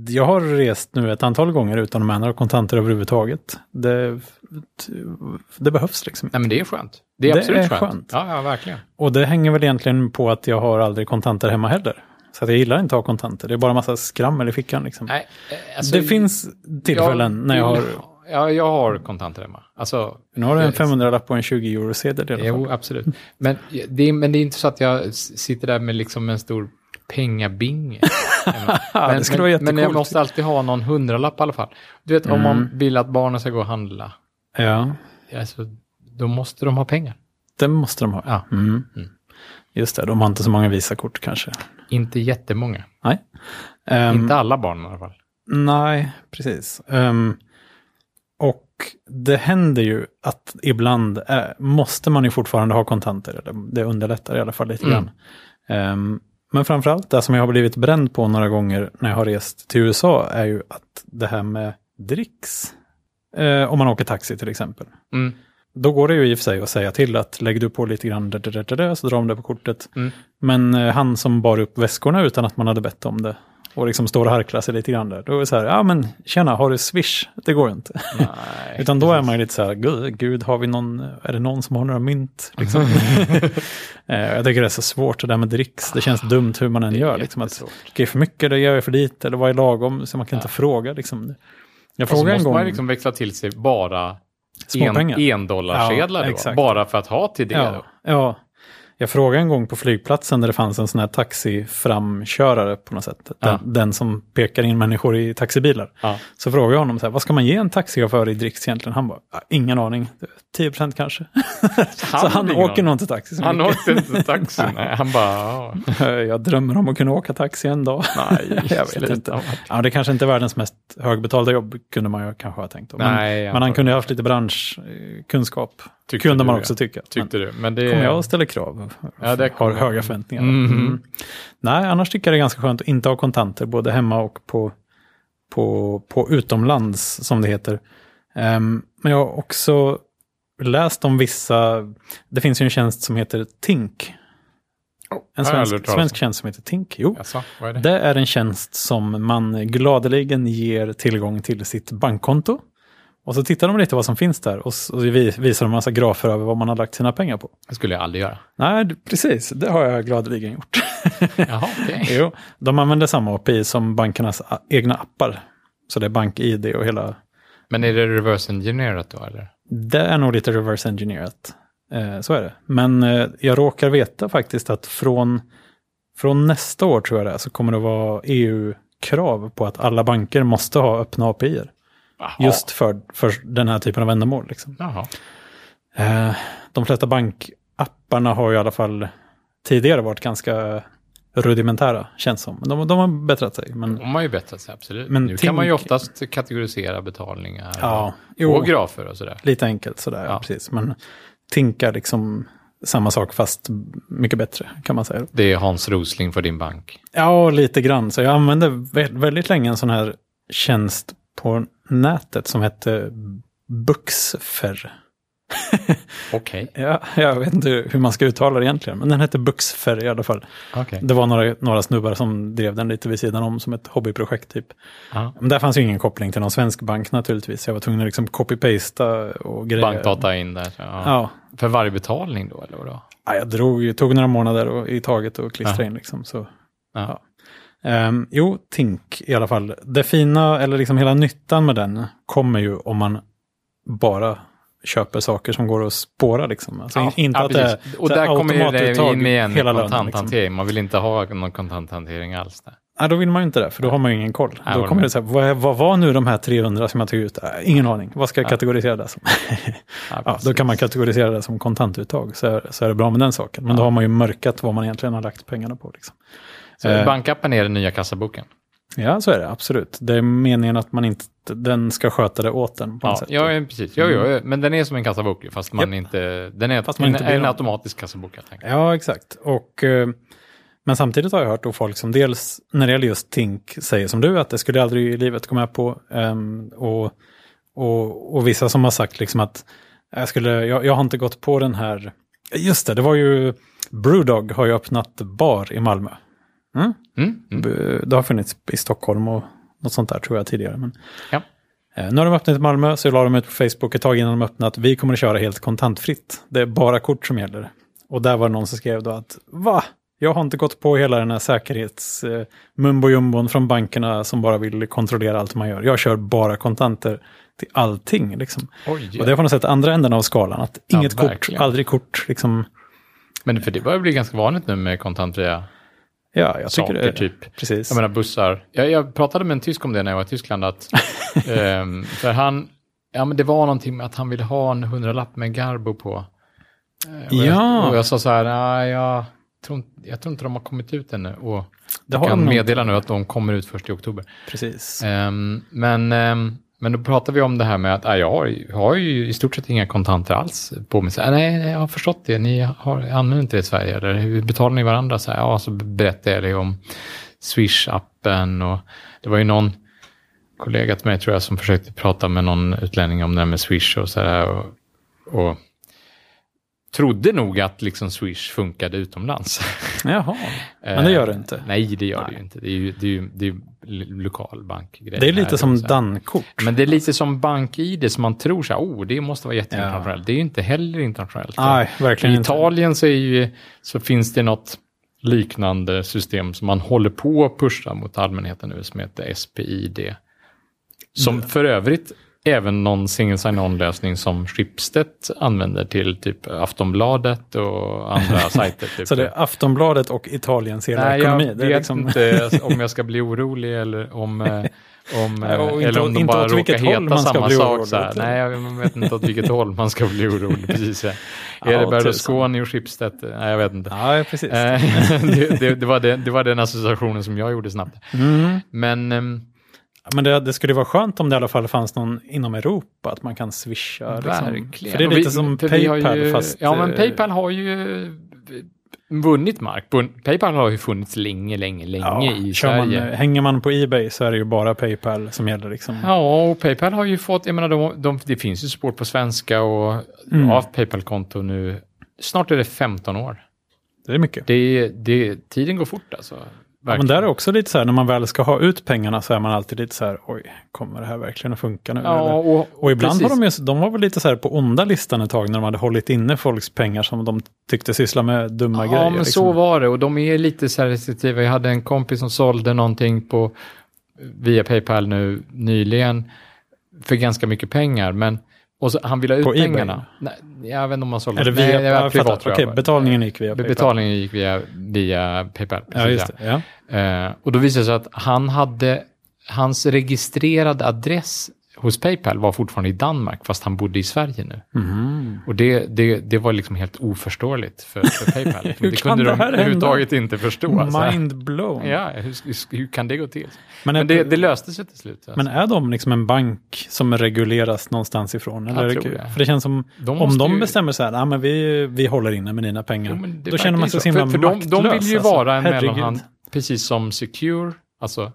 S2: jag har rest nu ett antal gånger utan att ha med några kontanter överhuvudtaget. Det, det behövs liksom
S1: Nej, men det är skönt. Det är
S2: Det
S1: absolut
S2: är
S1: skönt.
S2: skönt.
S1: Ja, ja, verkligen.
S2: Och det hänger väl egentligen på att jag har aldrig kontanter hemma heller. Så att jag gillar inte att ha kontanter. Det är bara massa skrammel i fickan liksom.
S1: Nej, eh, alltså,
S2: det finns tillfällen när jag har...
S1: Ja, jag har kontanter hemma. Alltså,
S2: Nu har du en
S1: eh,
S2: 500-lapp och en 20-eurosedel i alla fall.
S1: Jo, absolut. Men det, är, men det är inte så att jag s- sitter där med liksom en stor pengabinge.
S2: Ja, det skulle vara
S1: men, men jag
S2: jättecoolt.
S1: måste alltid ha någon hundralapp i alla fall. Du vet, om man
S2: Mm.
S1: vill att barnen ska gå och handla,
S2: Ja,
S1: alltså, då måste de ha pengar.
S2: det måste de ha.
S1: Ja.
S2: Mm.
S1: Mm.
S2: Just det, de har inte så många Visakort kanske.
S1: Inte jättemånga.
S2: Nej. Ehm,
S1: Inte alla barn i alla fall.
S2: Nej, precis. Ehm, och det händer ju att ibland eh, måste man ju fortfarande ha kontanter. Eller det underlättar i alla fall lite
S1: Mm.
S2: grann. Ehm, men framförallt det som jag har blivit bränd på några gånger när jag har rest till USA är ju att det här med dricks. Eh, om man åker taxi till exempel.
S1: Mm.
S2: Då går det ju i och för sig att säga till att lägg du på lite grann, där, där, där, där, där, så drar de det på kortet.
S1: Mm.
S2: Men eh, han som bar upp väskorna utan att man hade bett om det och liksom står och harklar sig lite grann där. Då är det så här, ja men tjena, har du swish? Det går ju inte.
S1: Nej,
S2: Utan då är
S1: precis.
S2: man ju lite så här, gud, gud har vi någon, är det någon som har några mynt? Liksom. Eh, jag tycker det är så svårt det där med dricks, det känns dumt hur man än
S1: Det är
S2: gör. Liksom, att,
S1: jättesvårt.
S2: okay, för mycket, eller gör jag för lite, eller vad är lagom? Så man kan inte fråga liksom. Jag
S1: Och så
S2: frågade en
S1: måste
S2: gång,
S1: man liksom växla till sig bara en,
S2: Småpengar.
S1: endollarsedlar
S2: Ja,
S1: då,
S2: exakt.
S1: bara för att ha till det.
S2: Ja,
S1: då.
S2: ja. Jag frågade en gång på flygplatsen där det fanns en sån här taxiframkörare på något sätt. Den,
S1: Ja.
S2: den som pekar in människor i taxibilar.
S1: Ja.
S2: Så frågade jag honom, så här, vad ska man ge en taxichaufför i dricks egentligen? Han bara, "Ja, ingen aning, 10% kanske. så
S1: hade
S2: han
S1: ingen
S2: åker
S1: aning.
S2: nog inte taxi så
S1: Han
S2: mycket.
S1: åkte inte taxi, nej. Han bara, ja,
S2: Jag drömmer om att kunna åka taxi en dag.
S1: nej,
S2: jag vet
S1: sluta.
S2: inte. Ja, det kanske inte är världens mest högbetalda jobb, kunde man ju kanske ha tänkt. Om. Men,
S1: Nej, jag
S2: men han
S1: antar-
S2: kunde ha haft lite branschkunskap,
S1: Tyckte
S2: kunde
S1: du,
S2: man
S1: ja.
S2: också tycka. Men-
S1: tyckte du. Men det
S2: kommer jag
S1: är
S2: att ställa krav.
S1: Ja, det
S2: har
S1: kommer jag.
S2: höga förväntningar.
S1: Mhm.
S2: Mm. Nej, annars tycker jag det är ganska skönt att inte ha kontanter, både hemma och på, på, på utomlands, som det heter. Ehm, men jag har också läst om vissa, det finns ju en tjänst som heter Tink. En
S1: Oh, har jag aldrig hört
S2: svensk,
S1: talas om.
S2: svensk tjänst som heter Tink, jo.
S1: Jaså, vad är det?
S2: Det är en tjänst som man gladeligen ger tillgång till sitt bankkonto. Och så tittar de lite vad som finns där och så vi- visar de en massa grafer över vad man har lagt sina pengar på.
S1: Det skulle jag aldrig göra.
S2: Nej, d- precis. Det har jag gladeligen gjort.
S1: Jaha, okej.
S2: jo, de använder samma API som bankernas a- egna appar. Så det är BankID och hela...
S1: Men är det reverse engineerat då, eller?
S2: Det är nog lite reverse engineerat. Eh, så är det. Men eh, jag råkar veta faktiskt att från, från nästa år, tror jag det är, så kommer det vara EU-krav på att alla banker måste ha öppna API-er.
S1: Jaha.
S2: Just för, för den här typen av ändamål. Liksom.
S1: Jaha.
S2: Eh, De flesta bankapparna har ju i alla fall tidigare varit ganska rudimentära, känns som. De, de har bättrat sig. Men,
S1: De har ju bättrat sig, absolut.
S2: Men
S1: nu kan man ju
S2: tänk-
S1: oftast kategorisera betalningar
S2: ja,
S1: och,
S2: jo,
S1: och grafer och sådär.
S2: lite enkelt sådär,
S1: Ja.
S2: precis. Men Tinka liksom samma sak fast mycket bättre, kan man säga.
S1: Det är Hans Rosling för din bank.
S2: Ja, lite grann. Så jag använde vä- väldigt länge en sån här tjänst på nätet som hette Buxfer.
S1: Okej.
S2: Ja, jag vet inte hur man ska uttala det egentligen, men den hette Buxfer i alla fall.
S1: Okej.
S2: Det var några, några snubbar som drev den lite vid sidan om som ett hobbyprojekt typ.
S1: Ja.
S2: Men där fanns ju ingen koppling till någon svensk bank naturligtvis. Jag var tvungen att liksom copy-pasta och grejer.
S1: Bankdata in där. så, Ja.
S2: Ja.
S1: För varje betalning då, eller vadå?
S2: ja, jag drog, ju- tog några månader och, i taget och klistrade
S1: Ja.
S2: in liksom. Så.
S1: Ja.
S2: Ja. Ehm, jo, Tink i alla fall. Det fina, eller liksom hela nyttan med den, kommer ju om man bara köper saker som går att spåra liksom. Alltså, in- inte att det är
S1: precis. Och
S2: så här
S1: där kommer ju det
S2: automatuttag
S1: in igen med
S2: hela lönen, liksom.
S1: kontanthantering. Man vill inte ha någon kontanthantering alls där.
S2: Ja, då vill man ju inte det, för då har man ju ingen koll.
S1: Nej,
S2: då
S1: vad
S2: kommer
S1: du
S2: det så här, vad, är- vad var nu de här 300 som jag tog ut? Äh, ingen aning, vad ska jag kategorisera det som? ja, då
S1: precis.
S2: kan man kategorisera det som kontantuttag, så är, så är det bra med den saken. Men då har man ju mörkat vad man egentligen har lagt pengarna på. Liksom.
S1: Så
S2: Eh.
S1: Bankappen är den nya kassaboken.
S2: Ja, så är det absolut. Det är meningen att man inte, den ska sköta det åt den på något
S1: Ja,
S2: sätt. Mm.
S1: ja, ja, precis. Jo, jo, jo. Men den är som en kassabok, ju, fast man inte... Den är
S2: Fast man
S1: en,
S2: inte ber
S1: en
S2: om-
S1: automatisk kassabok, helt enkelt.
S2: Ja, exakt. Och, eh, men samtidigt har jag hört då folk som dels när det gäller just Tink säger som du, att det skulle jag aldrig i livet gå med på. Ehm, och, och, och vissa som har sagt liksom att jag, skulle, jag, jag har inte gått på den här... Just det, det var ju... Brewdog har ju öppnat bar i Malmö.
S1: Mm? Mm.
S2: B- Det har funnits i Stockholm och något sånt där tror jag tidigare. Men,
S1: Ja.
S2: Eh, Nu har de öppnat i Malmö, så la de ut på Facebook ett tag innan de öppnat. Vi kommer att köra helt kontantfritt. Det är bara kort som gäller. Och där var det någon som skrev då att va? Jag har inte gått på hela den här säkerhets eh, mumbo jumbon från bankerna som bara vill kontrollera allt man gör. Jag kör bara kontanter till allting. Liksom.
S1: Oj,
S2: Och det är på något sätt andra änden av skalan. Att
S1: Ja,
S2: inget kort,
S1: verkligen.
S2: aldrig kort. Liksom.
S1: Men för det börjar bli ganska vanligt nu med kontantfria
S2: Ja, jag tycker
S1: saker,
S2: det. är det.
S1: typ.
S2: Precis.
S1: Jag menar bussar. Jag, jag pratade med en tysk om det när jag var i Tyskland. Att, ehm, för han, ja, men det var någonting med att han ville ha en hundralapp med Garbo på. Eh, och
S2: Ja.
S1: Jag, och jag sa så här, "Nej, jag, tror, inte- jag tror inte de har kommit ut ännu. Och
S2: det
S1: jag
S2: har
S1: kan
S2: de nog.
S1: meddela nu att de kommer ut först i oktober.
S2: Precis.
S1: Ehm, men, ehm, men då pratade vi om det här med att ah, jag har, ju- jag har ju i stort sett inga kontanter alls på mig. Så, här, nej, nej, jag har förstått det. Ni har, använder inte det i Sverige. Eller hur betalar ni varandra? Så, här, ja, så berättade jag det om Swish-appen. Och det var ju någon kollega till mig tror jag som försökte prata med någon utlänning om det här med Swish och så här. Och, och trodde nog att liksom Swish funkade utomlands.
S2: Jaha,
S1: eh,
S2: men det gör det inte.
S1: Nej, det gör det ju inte. Det är ju, det är ju, det är ju lokal bankgrej.
S2: Det är
S1: Här,
S2: lite som
S1: eh, så här.
S2: dankort.
S1: Men det är lite som bank-id som man tror så här, oh, det måste vara jätteinternationellt. Det är ju inte heller internationellt.
S2: Nej, verkligen
S1: I
S2: inte.
S1: Italien så, är ju, så finns det något liknande system som man håller på att pusha mot allmänheten nu som heter SPID. Som
S2: Mm.
S1: för övrigt även någon single sign-on-lösning som Schibsted använder till typ Aftonbladet och andra sajter. Typ.
S2: Så det är Aftonbladet och Italiens hela
S1: Nej,
S2: ekonomi.
S1: jag
S2: det är
S1: vet
S2: liksom...
S1: inte om jag ska bli orolig eller om, eh, om, eh,
S2: Ja, och inte-
S1: eller om de
S2: inte
S1: bara
S2: åt vilket
S1: råkar
S2: håll man
S1: heta
S2: ska
S1: samma
S2: bli
S1: sak.
S2: orolig. typ.
S1: Så här. Nej, jag vet inte åt vilket håll man ska bli orolig. Precis. ja.
S2: Ja,
S1: Är det
S2: tusan.
S1: Berlusconi och Schibsted? Nej, jag vet inte.
S2: Ja, precis.
S1: Eh, det, det, det, var den, det var den associationen som jag gjorde snabbt.
S2: Mm.
S1: Men ehm,
S2: Men det, det skulle vara skönt om det i alla fall fanns någon inom Europa, att man kan swisha. Liksom.
S1: verkligen.
S2: För det är
S1: Och vi-
S2: lite som
S1: för vi har
S2: Paypal,
S1: ju,
S2: fast...
S1: Ja, men
S2: eh,
S1: Paypal har ju eh, vunnit mark. Bun- Paypal har ju funnits länge, länge, länge
S2: ja,
S1: i
S2: kör man,
S1: Sverige.
S2: eh, hänger man på Ebay så är det ju bara Paypal som gäller. Liksom.
S1: Ja, och Paypal har ju fått, jag menar, de, de, det finns ju support på svenska och
S2: Mm.
S1: av Paypal-konto nu. Snart är det 15 år.
S2: Det är mycket.
S1: Det, det, tiden går fort alltså.
S2: Ja,
S1: Verkligen.
S2: men där är också lite så här, när man väl ska ha ut pengarna så är man alltid lite så här, oj, kommer det här verkligen att funka nu?
S1: Ja,
S2: Eller?
S1: och,
S2: Och ibland
S1: precis.
S2: har de ju, de var väl lite så här på onda listan ett tag när de hade hållit inne folks pengar som de tyckte syssla med dumma
S1: Ja,
S2: grejer.
S1: men
S2: liksom.
S1: så var det och de är lite så här restriktiva. Jag hade en kompis som sålde någonting på via Paypal nu nyligen för ganska mycket pengar, men och så, han ville ha ut
S2: På eBay?
S1: pengarna. Nej, jag vet inte om han sålde.
S2: Eller
S1: Nej,
S2: via,
S1: det var
S2: jag
S1: privat
S2: fattar.
S1: tror jag.
S2: Okej, betalningen gick via Paypal.
S1: Betalningen gick via, via Paypal. precis,
S2: Ja, just det. Ja.
S1: Eh, och då visade det sig att han hade, hans registrerade adress hos Paypal var fortfarande i Danmark, fast han bodde i Sverige nu.
S2: Mhm.
S1: Och det, det, det var liksom helt oförståeligt för, för Paypal.
S2: Hur
S1: det
S2: kan
S1: kunde
S2: det
S1: de
S2: här hända?
S1: överhuvudtaget inte förstå. så här.
S2: Mind blown.
S1: Ja, hur, hur, hur kan det gå till?
S2: Men, är,
S1: Men det, det löste sig till slut. Alltså.
S2: men är de liksom en bank som regleras någonstans ifrån? Eller?
S1: Jag tror det.
S2: För det känns som,
S1: De
S2: om
S1: måste
S2: de
S1: ju-
S2: bestämmer så här, ah, men vi, vi håller inne med dina pengar,
S1: Jo, men det
S2: då känner
S1: verkar
S2: man
S1: ju
S2: sig så
S1: för,
S2: himla
S1: för de, de vill ju
S2: maktlös,
S1: vara en
S2: alltså. Herregud.
S1: mellanhand, precis som Secure, alltså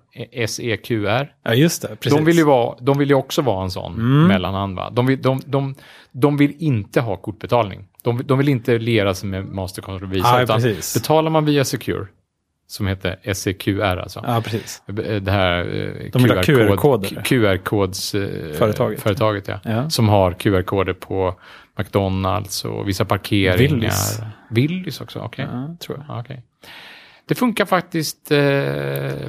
S1: SEQR.
S2: Ja, just det. Precis.
S1: De vill, ju vara, de vill ju också vara en sån
S2: Mm.
S1: mellanhand. Va? De, vill, de, de, de vill inte ha kortbetalning. De, vill- de vill inte lera sig med Mastercard och Visa.
S2: Ja,
S1: utan
S2: precis.
S1: betalar man via Secure, som heter SEQR alltså,
S2: Ja, precis.
S1: det här eh,
S2: De vill ha
S1: QR-kod-
S2: QR-koder.
S1: QR-kods eh,
S2: Företaget.
S1: företaget ja.
S2: Ja.
S1: som har QR-koder på McDonalds och vissa parkeringar.
S2: Willys.
S1: Willys också, okej.
S2: Ja, tror jag.
S1: Ja, okej. Det funkar faktiskt eh,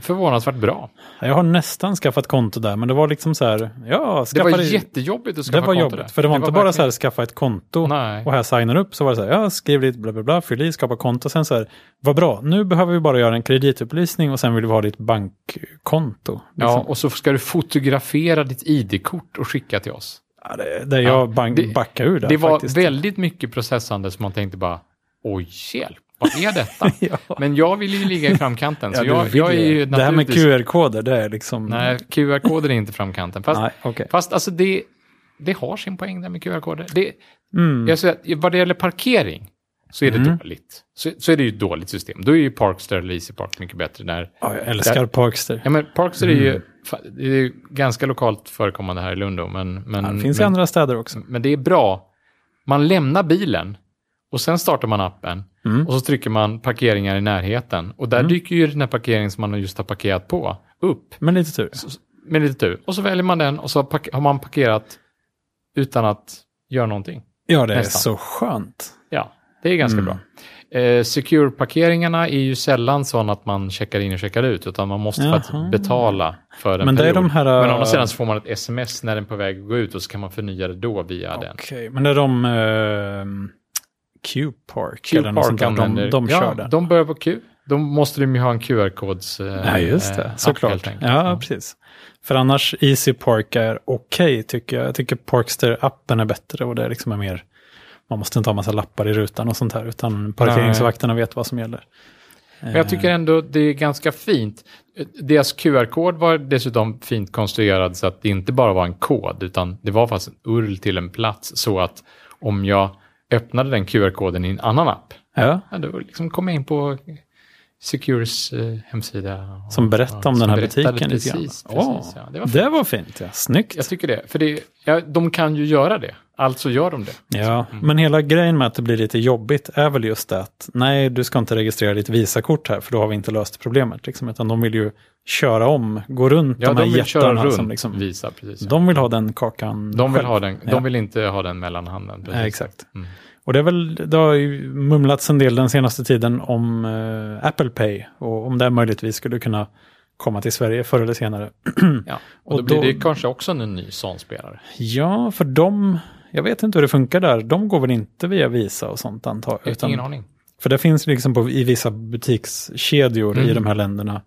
S1: förvånansvärt bra.
S2: Jag har nästan skaffat konto där, men det var liksom så här, ja,
S1: Det var
S2: skaffade...
S1: jättejobbigt att
S2: det
S1: skaffa
S2: var
S1: konto
S2: jobbigt, för det var inte bara så här skaffa ett konto
S1: Nej.
S2: och här signar upp så var det så här, ja, skriv ditt bla bla bla, fyll i, skapa konto, sen så här, vad bra, nu behöver vi bara göra en kreditupplysning och sen vill vi ha ditt bankkonto.
S1: Ja,
S2: Liksom.
S1: och så ska du fotografera ditt ID-kort och skicka till oss.
S2: Ja, det, det jag
S1: Ja,
S2: bank,
S1: det-
S2: backar ur där
S1: det var
S2: faktiskt.
S1: väldigt mycket processande som man tänkte bara, oj hjälp, vad är detta?
S2: ja.
S1: Men jag vill ju ligga i framkanten, så
S2: Ja,
S1: jag,
S2: du
S1: jag är
S2: vill
S1: ju
S2: det här med
S1: naturligtvis...
S2: QR-koder, det är liksom...
S1: Nej, QR-koder är inte framkanten. Fast,
S2: Nej, okej.
S1: fast alltså det, det har sin poäng där med QR-koder. Det,
S2: Mm.
S1: jag säger, att vad det gäller parkering så är det dåligt. Så, så är det ju ett dåligt system. Då är ju Parkster eller Easy Park mycket bättre där.
S2: Ja, jag älskar Parkster.
S1: Ja, men Parkster är
S2: Mm.
S1: ju fa- det är ju ganska lokalt förekommande här i Lund. då, Men, men,
S2: Ja, det finns i
S1: men,
S2: andra städer också.
S1: men det är bra. Man lämnar bilen och sen startar man appen
S2: Mm.
S1: och så trycker man parkeringar i närheten. Och där dyker ju den här parkeringen som man just har parkerat på upp
S2: Men lite tur.
S1: med lite tur. Och så väljer man den och så har park- har man parkerat utan att göra någonting.
S2: Ja, det är
S1: Nästan.
S2: så skönt.
S1: Ja, det är
S2: Mm.
S1: ganska bra. Eh, Secure-parkeringarna är ju sällan sådana att man checkar in och checkar ut, utan man måste
S2: Jaha.
S1: faktiskt betala för en
S2: Men det är
S1: period.
S2: de här,
S1: Men å andra
S2: äh,
S1: sidan så får man ett sms när den är på väg att gå ut och så kan man förnya det då via den.
S2: Okej, men det är de uh, Q-Park eller något sånt där, de, de
S1: ja,
S2: kör den.
S1: De börjar på Q. Då måste de ju ha en QR-kods... eh,
S2: Ja, just
S1: eh,
S2: det.
S1: app helt
S2: Såklart.
S1: enkelt.
S2: Ja, precis. För annars Easy Park är okej tycker jag. Jag tycker Parkster-appen är bättre och det liksom är mer... Man måste inte ha massa lappar i rutan och sånt här, utan parkeringsvakterna vet vad som gäller.
S1: Men jag
S2: Eh.
S1: tycker ändå det är ganska fint. Deras QR-kod var dessutom fint konstruerad så att det inte bara var en kod utan det var faktiskt en URL till en plats så att om jag öppnade den QR-koden i en annan app,
S2: Eh, Ja,
S1: ja, då liksom kom jag in på Secures eh, hemsida. och-
S2: som berättar om
S1: som
S2: den här
S1: berättade
S2: butiken lite grann.
S1: precis,
S2: Åh,
S1: precis, ja, det
S2: det,
S1: var
S2: var
S1: fint.
S2: fint. Ja. Snyggt.
S1: Jag tycker det, för det, ja, de kan ju göra det, alltså gör de det.
S2: Ja,
S1: Mm.
S2: men hela grejen med att det blir lite jobbigt är väl just det att nej, du ska inte registrera ditt Visakort här för då har vi inte löst problemet. Liksom, utan de vill ju köra om, gå runt
S1: Ja,
S2: de
S1: de,
S2: här
S1: vill köra
S2: jättarna.
S1: runt
S2: som liksom,
S1: Visa, precis. ja.
S2: de vill ha den kakan
S1: De vill,
S2: själv.
S1: ha den,
S2: Ja.
S1: de vill inte ha den mellanhanden. precis.
S2: Ja, exakt.
S1: Mm.
S2: Och det, är väl, det har ju mumlats en del den senaste tiden om eh, Apple Pay och om det möjligtvis skulle kunna komma till Sverige förr eller senare.
S1: Ja, och,
S2: Och
S1: då, blir
S2: då-
S1: det ju kanske också en ny sån spelare.
S2: Ja, för de, jag vet inte hur det funkar där, de går väl inte via Visa och sånt antar jag.
S1: Utan... Ingen aning.
S2: För det finns liksom på, i vissa butikskedjor i
S1: Mm.
S2: de här länderna.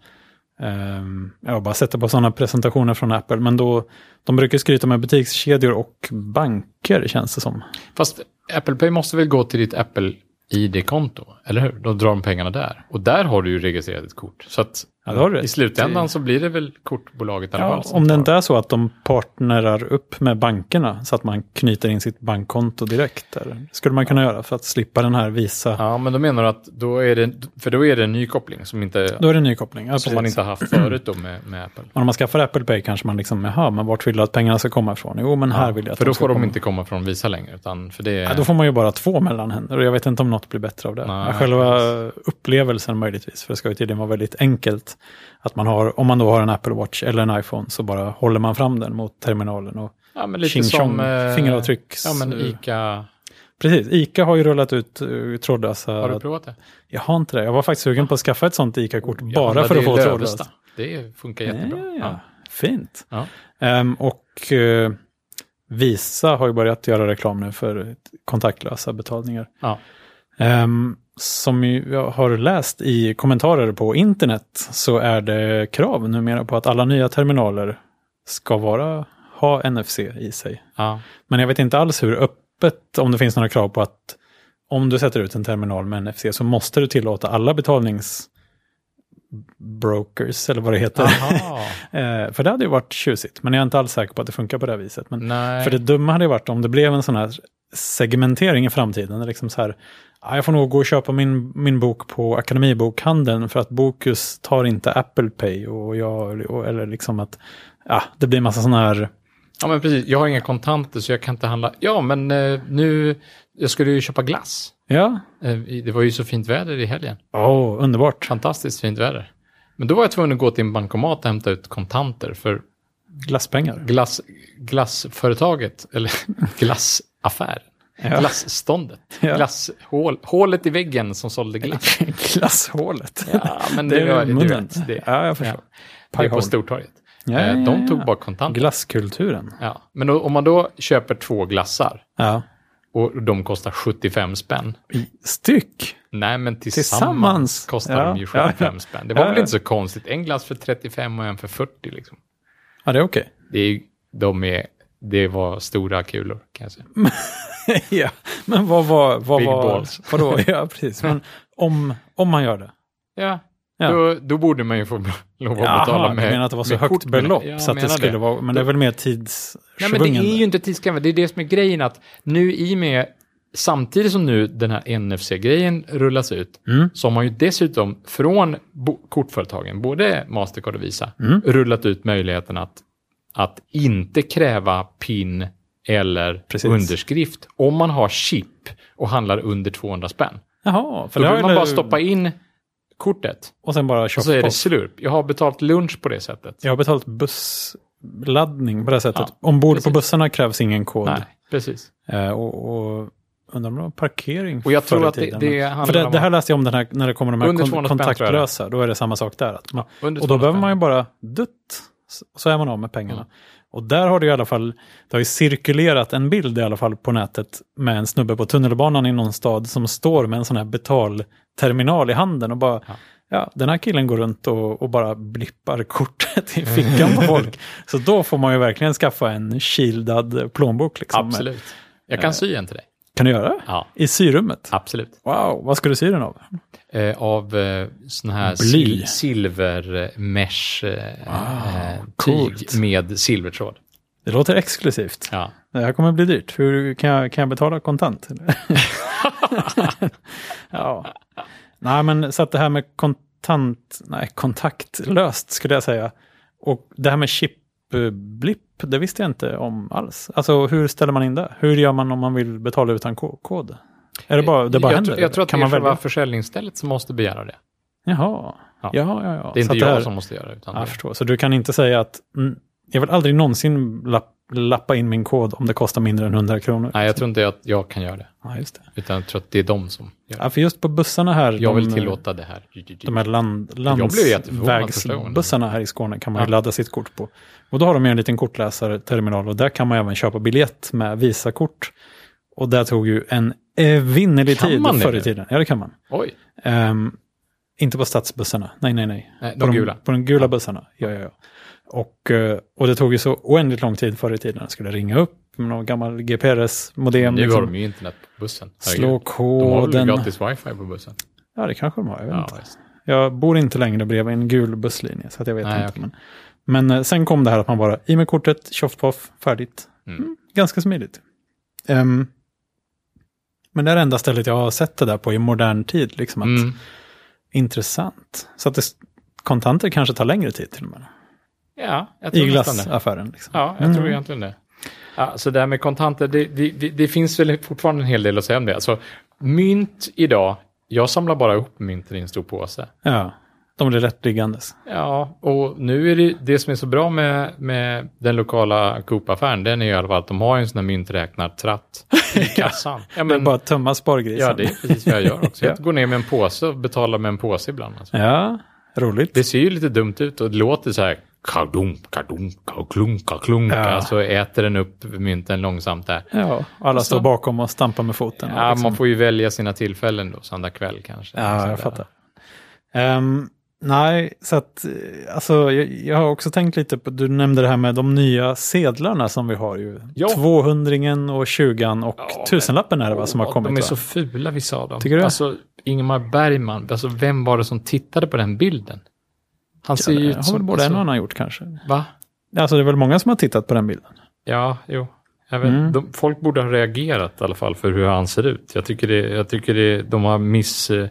S2: Um, jag bara sätter på sådana presentationer från Apple, men då, de brukar skryta med butikskedjor och banker känns det som.
S1: Fast Apple Pay måste väl gå till ditt Apple ID-konto, eller hur? Då drar de pengarna där. Och där har du ju registrerat ett kort. Så att
S2: Ja, det har du
S1: i
S2: rätt
S1: slutändan
S2: i.
S1: så blir det väl kortbolaget i alla
S2: Ja,
S1: fall. som
S2: om det
S1: tar-
S2: inte är så att de partnerar upp med bankerna så att man knyter in sitt bankkonto direkt. Där. Skulle man kunna göra för att slippa den här visa.
S1: Ja, men då menar du att då är det, för då är det en ny koppling som, inte,
S2: Då är det en ny koppling. Ja,
S1: som man
S2: precis.
S1: inte har haft förut då med, med Apple.
S2: Men om man skaffar Apple Pay kanske man liksom, jaha, men vart vill du att pengarna ska komma ifrån? Jo, men här vill jag att
S1: För då
S2: ska
S1: får de
S2: komma.
S1: inte komma från Visa längre, utan för det är...
S2: Ja, då får man ju bara två mellanhänder och jag vet inte om något blir bättre av det.
S1: Nej,
S2: Själva upplevelsen möjligtvis, för det ska ju tydligen vara väldigt enkelt. Att man har, om man då har en Apple Watch eller en iPhone så bara håller man fram den mot terminalen och
S1: ja, men lite
S2: tjing
S1: som...
S2: tjong,
S1: eh,
S2: fingeravtrycks...
S1: Ja, men Ica...
S2: Precis, ICA har ju rullat ut eh, trådlösa...
S1: Har du provat det?
S2: Jag har inte det, jag var faktiskt sugen på att skaffa ett sånt ICA-kort
S1: Oh, Ja,
S2: bara
S1: men
S2: för
S1: det
S2: att
S1: är
S2: få
S1: Lövesta.
S2: trådlöst.
S1: Det funkar jättebra.
S2: Ja,
S1: Ja.
S2: Fint.
S1: Ja.
S2: Ehm, och eh, Visa har ju börjat göra reklam nu för kontaktlösa betalningar.
S1: Ja.
S2: Ehm, som ju jag har läst i kommentarer på internet så är det krav numera på att alla nya terminaler ska vara, ha NFC i sig.
S1: Ja.
S2: Men jag vet inte alls hur öppet, om det finns några krav på att om du sätter ut en terminal med NFC så måste du tillåta alla betalnings brokers eller vad det heter.
S1: Jaha.
S2: Eh, för det hade ju varit tjusigt, men jag är inte alls säker på att det funkar på det här viset. Men
S1: Nej.
S2: för det dumma hade ju varit om det blev en sån här segmentering i framtiden. där Liksom så här, "Ah, jag får nog gå och köpa min, min bok på Akademibokhandeln för att Bokus tar inte Apple Pay. Och jag, och, eller liksom att ah, det blir massa sådana här...
S1: Ja, men precis. Jag har inga kontanter så jag kan inte handla. Ja, men eh, nu... Jag skulle ju köpa glass.
S2: Ja,
S1: Eh, i- Det var ju så fint väder i helgen.
S2: oh, underbart.
S1: Fantastiskt fint väder. Men då var jag tvungen att gå till en bankomat och hämta ut kontanter för
S2: Glasspengar.
S1: glass, glassföretaget, eller glassaffären.
S2: Ja.
S1: Glassståndet.
S2: Ja.
S1: Glasshål, hålet i väggen som sålde glass.
S2: Glasshålet.
S1: Ja, men
S2: det är
S1: var-
S2: ju munnen.
S1: vet, det,
S2: ja, jag förstår.
S1: det är på
S2: Pajhål.
S1: Stortorget.
S2: Ja,
S1: Eh,
S2: ja,
S1: De tog
S2: ja.
S1: bara kontanter.
S2: Glasskulturen.
S1: Ja. Men då- om man då köper två glassar
S2: Ja.
S1: och de kostar 75 spänn.
S2: Styck.
S1: Nej, men tillsammans,
S2: Tillsammans.
S1: kostar
S2: Ja,
S1: de ju
S2: ja,
S1: 75
S2: ja.
S1: spänn. Det var
S2: Ja,
S1: väl
S2: ja.
S1: inte så konstigt. En glass för 35 och en för 40. Liksom.
S2: Ja, det är okej.
S1: Det, är, de är, det var stora kulor, kan jag säga.
S2: ja, men vad var... Vad
S1: Big
S2: var
S1: balls.
S2: Vadå? Ja, precis. Men om, om man gör det.
S1: Ja,
S2: Ja.
S1: Då, då borde man ju få lov att betala
S2: du
S1: med
S2: menar att det var så
S1: med
S2: högt
S1: kort, men-
S2: belopp
S1: Ja,
S2: så att det
S1: menar
S2: skulle vara... Men det är väl mer tids...
S1: Nej, men det är ju inte tidskrävande. Det är det som är grejen att nu i och med, samtidigt som nu den här NFC-grejen rullas ut,
S2: Mm.
S1: så har man ju dessutom från bo- kortföretagen, både Mastercard och Visa,
S2: Mm.
S1: rullat ut möjligheten att, att inte kräva PIN eller
S2: Precis.
S1: underskrift om man har chip och handlar under 200 spänn.
S2: Jaha, för
S1: Då
S2: det
S1: vill
S2: har
S1: man
S2: ju-
S1: bara stoppa in kortet
S2: Och sen bara köpa
S1: och så är det slurp. Jag har betalt lunch på det sättet.
S2: Jag har betalt bussladdning på det här sättet.
S1: Ja,
S2: Ombord
S1: precis.
S2: på bussarna krävs ingen kod.
S1: Nej, precis.
S2: Eh, och, och undrar om det var parkering
S1: Och jag
S2: förr
S1: tror
S2: i
S1: att det-
S2: tiden.
S1: det
S2: För
S1: handlar
S2: det,
S1: om
S2: det här
S1: att-
S2: läste jag om den här, när det kommer de här
S1: Under
S2: kon-
S1: 200 spänn, tror jag det är.
S2: kontaktlösa. Då är det samma sak där. Att man,
S1: Under
S2: och då
S1: 200
S2: behöver
S1: spänn.
S2: man ju bara dutt. så- Så är man av med pengarna.
S1: Mm.
S2: Och där har det ju i alla fall, det har ju cirkulerat en bild i alla fall på nätet med en snubbe på tunnelbanan i någon stad som står med en sån här betalterminal i handen och bara, ja, den här killen går runt och, och bara blippar kortet i fickan på folk. Så då får man ju verkligen skaffa en shieldad plånbok. Liksom.
S1: Absolut. Jag
S2: Eh.
S1: kan sy en till dig.
S2: Kan du göra det?
S1: Ja,
S2: I syrummet?
S1: absolut.
S2: Wow, vad ska du sy den av?
S1: Eh, av eh, sån här
S2: Bly.
S1: sil- silvermesh eh, eh,
S2: coolt.
S1: tyg med silvertråd.
S2: Det låter exklusivt.
S1: Ja.
S2: Det här kommer bli dyrt. Hur kan jag, kan jag betala kontant? eller? ja. Nej, men så att det här med kontant, nej, kontaktlöst skulle jag säga. Och det här med chipblipp, det visste jag inte om alls. Alltså hur ställer man in det? Hur gör man om man vill betala utan ko- kod? Är det bara, det bara
S1: jag,
S2: händer?
S1: tror- jag tror att
S2: kan
S1: det är
S2: man
S1: själva
S2: välja?
S1: försäljningsstället som måste begära det.
S2: Jaha,
S1: Ja.
S2: ja, ja, ja.
S1: Det är
S2: Så
S1: inte
S2: att
S1: jag
S2: här-
S1: som måste göra det. Utan
S2: Ja, Jag
S1: det.
S2: förstår, så du kan inte säga att mm, jag vill aldrig någonsin lapp, lappa in min kod om det kostar mindre än 100 kronor.
S1: Nej, jag tror inte att jag kan göra det.
S2: Ja, just det.
S1: Utan jag tror att det är de som gör det.
S2: Ja, för just på bussarna här,
S1: Jag vill
S2: de, eh,
S1: tillåta det här.
S2: de här land,
S1: Jag blev jätteförvånad första gången.
S2: landsvägsbussarna här i Skåne kan man ju
S1: Ja.
S2: ladda sitt kort på. Och då har de ju en liten kortläsarterminal och där kan man även köpa biljett med Visakort. Och det tog ju en evinnerlig
S1: Kan
S2: tid
S1: man det
S2: förr
S1: nu?
S2: i tiden. Ja, det kan man.
S1: Oj,
S2: Ehm, inte på stadsbussarna, nej, nej, nej.
S1: nej,
S2: på
S1: de gula.
S2: På de gula bussarna, ja, ja, ja. Och, eh, och det tog ju så oändligt lång tid förr i tiden. Jag skulle ringa upp med någon gammal GPRS-modem.
S1: Nu har
S2: liksom.
S1: de ju internet på bussen. Herregud.
S2: Slå
S1: de har väl
S2: koden.
S1: gratis wifi på bussen?
S2: Ja, det kanske de har. Jag vet
S1: Ja,
S2: inte.
S1: visst.
S2: Jag bor inte längre bredvid en gul busslinje, så att jag vet
S1: Nej,
S2: inte.
S1: okej.
S2: Men, men eh, sen kom det här att man bara, i med kortet, tjoff färdigt.
S1: Mm.
S2: Mm, ganska smidigt. Ehm, men det är det enda stället jag har sett det där på i modern tid. Liksom att,
S1: Mm.
S2: Intressant. Så att det, kontanter kanske tar längre tid till och med.
S1: Ja, jag tror
S2: I
S1: nästan det.
S2: glassaffären. Liksom.
S1: Ja, jag tror egentligen det. Ja, så det här med kontanter, det, det, det, det finns väl fortfarande en hel del att säga om det. Alltså, mynt idag, jag samlar bara ihop mynten i en stor påse.
S2: Ja, de blir lättliggandes.
S1: Ja, och nu är det det som är så bra med, med den lokala Coop-affären, den är ju i alla fall att de har ju en sån här mynträknartratt i kassan. ja,
S2: Det är bara att tömma spargrisen.
S1: ja, det är precis vad jag gör också. Jag
S2: Ja.
S1: går ner med en påse och betalar med en påse ibland. Alltså.
S2: Ja, roligt.
S1: Det ser ju lite dumt ut och det låter så här kadunk, kadunk, klunk, klunk.
S2: Ja.
S1: Så äter den upp mynten långsamt där.
S2: Ja, alla står
S1: Så-
S2: bakom och stampar med foten.
S1: Alltså- Ja,
S2: liksom.
S1: man får ju välja sina tillfällen då, söndag kväll kanske.
S2: ja
S1: Sådär.
S2: jag fattar. Ehm, nej, så att eh, alltså, jag, jag har också tänkt lite på, du nämnde det här med de nya sedlarna som vi har ju.
S1: Ja.
S2: 200 och 20 och
S1: Ja, men-
S2: tusenlappen är det va, som har
S1: Åh,
S2: kommit.
S1: de är
S2: va?
S1: så fula vissa av dem.
S2: Tycker du?
S1: Alltså, Ingmar Bergman, alltså vem var det som tittade på den bilden? Han ser ju
S2: det
S1: ut
S2: har väl
S1: som...
S2: både en och
S1: alltså,
S2: annan gjort kanske.
S1: va?
S2: Alltså det är väl många som har tittat på den bilden.
S1: Ja, jo. Jag vet,
S2: Mm.
S1: de, folk borde ha reagerat i alla fall för hur han ser ut. Jag tycker, det, jag tycker det, de har miss... eh,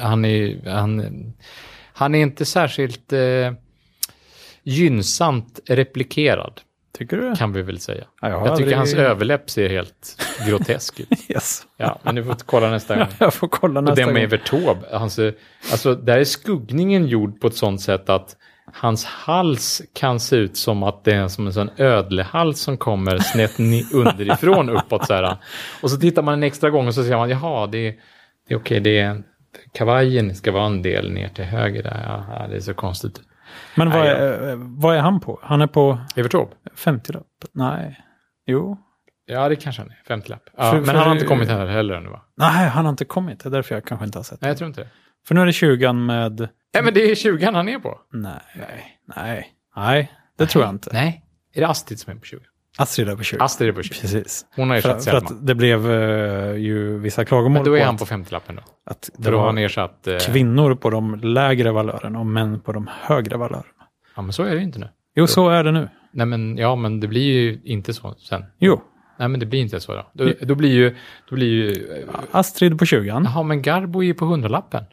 S1: Han är, han, han är inte särskilt eh, gynnsamt replikerad,
S2: Tycker du?
S1: kan vi väl säga.
S2: Ja, jag har
S1: Jag tycker
S2: aldrig-
S1: hans överläpp ser helt grotesk ut.
S2: Yes.
S1: Ja, men du får kolla nästa gång.
S2: Jag får kolla
S1: Och
S2: nästa
S1: den med
S2: gång.
S1: Evert Taube, hans, eh, alltså där är skuggningen gjord på ett sånt sätt att hans hals kan se ut som att det är som en sån ödlehals som kommer snett ni- underifrån uppåt så här. Och så tittar man en extra gång och så ser man, jaha, det är, det är okej, det är, kavajen ska vara en del ner till höger där, Jaha, det är så konstigt.
S2: Men vad
S1: Nej,
S2: är, eh, vad är han på? Han är på
S1: Evert Taube?
S2: 50-lapp? Nej. Jo.
S1: Ja, det kanske han är, femtilapp. Ja,
S2: För-
S1: men
S2: för-
S1: han har inte kommit här heller ännu va?
S2: Nej, han har inte kommit. Det är därför jag kanske inte har sett.
S1: Nej, jag tror inte det.
S2: För nu är det 20 med...
S1: Nej, men det är 20 han är på.
S2: Nej. Nej. Nej, det tror jag inte.
S1: Nej, är det Astrid som är på 20?
S2: Astrid är på 20.
S1: Astrid är på 20.
S2: Precis.
S1: Hon har
S2: För,
S1: ersatt
S2: att- för
S1: Selma.
S2: att det blev eh, ju vissa klagomål
S1: Men då är han
S2: att,
S1: på 50-lappen då.
S2: att det
S1: För då har han
S2: var
S1: ersatt... Eh,
S2: kvinnor på de lägre valörerna och män på de högre valörerna.
S1: ja, men så är det ju inte nu.
S2: Jo, så är det nu.
S1: Nej, men ja, men det blir ju inte så sen.
S2: Jo,
S1: Nej, men det blir inte så då. Då, då blir ju... Då blir ju eh,
S2: Astrid på 20.
S1: jaha, men Garbo är ju på 100-lappen.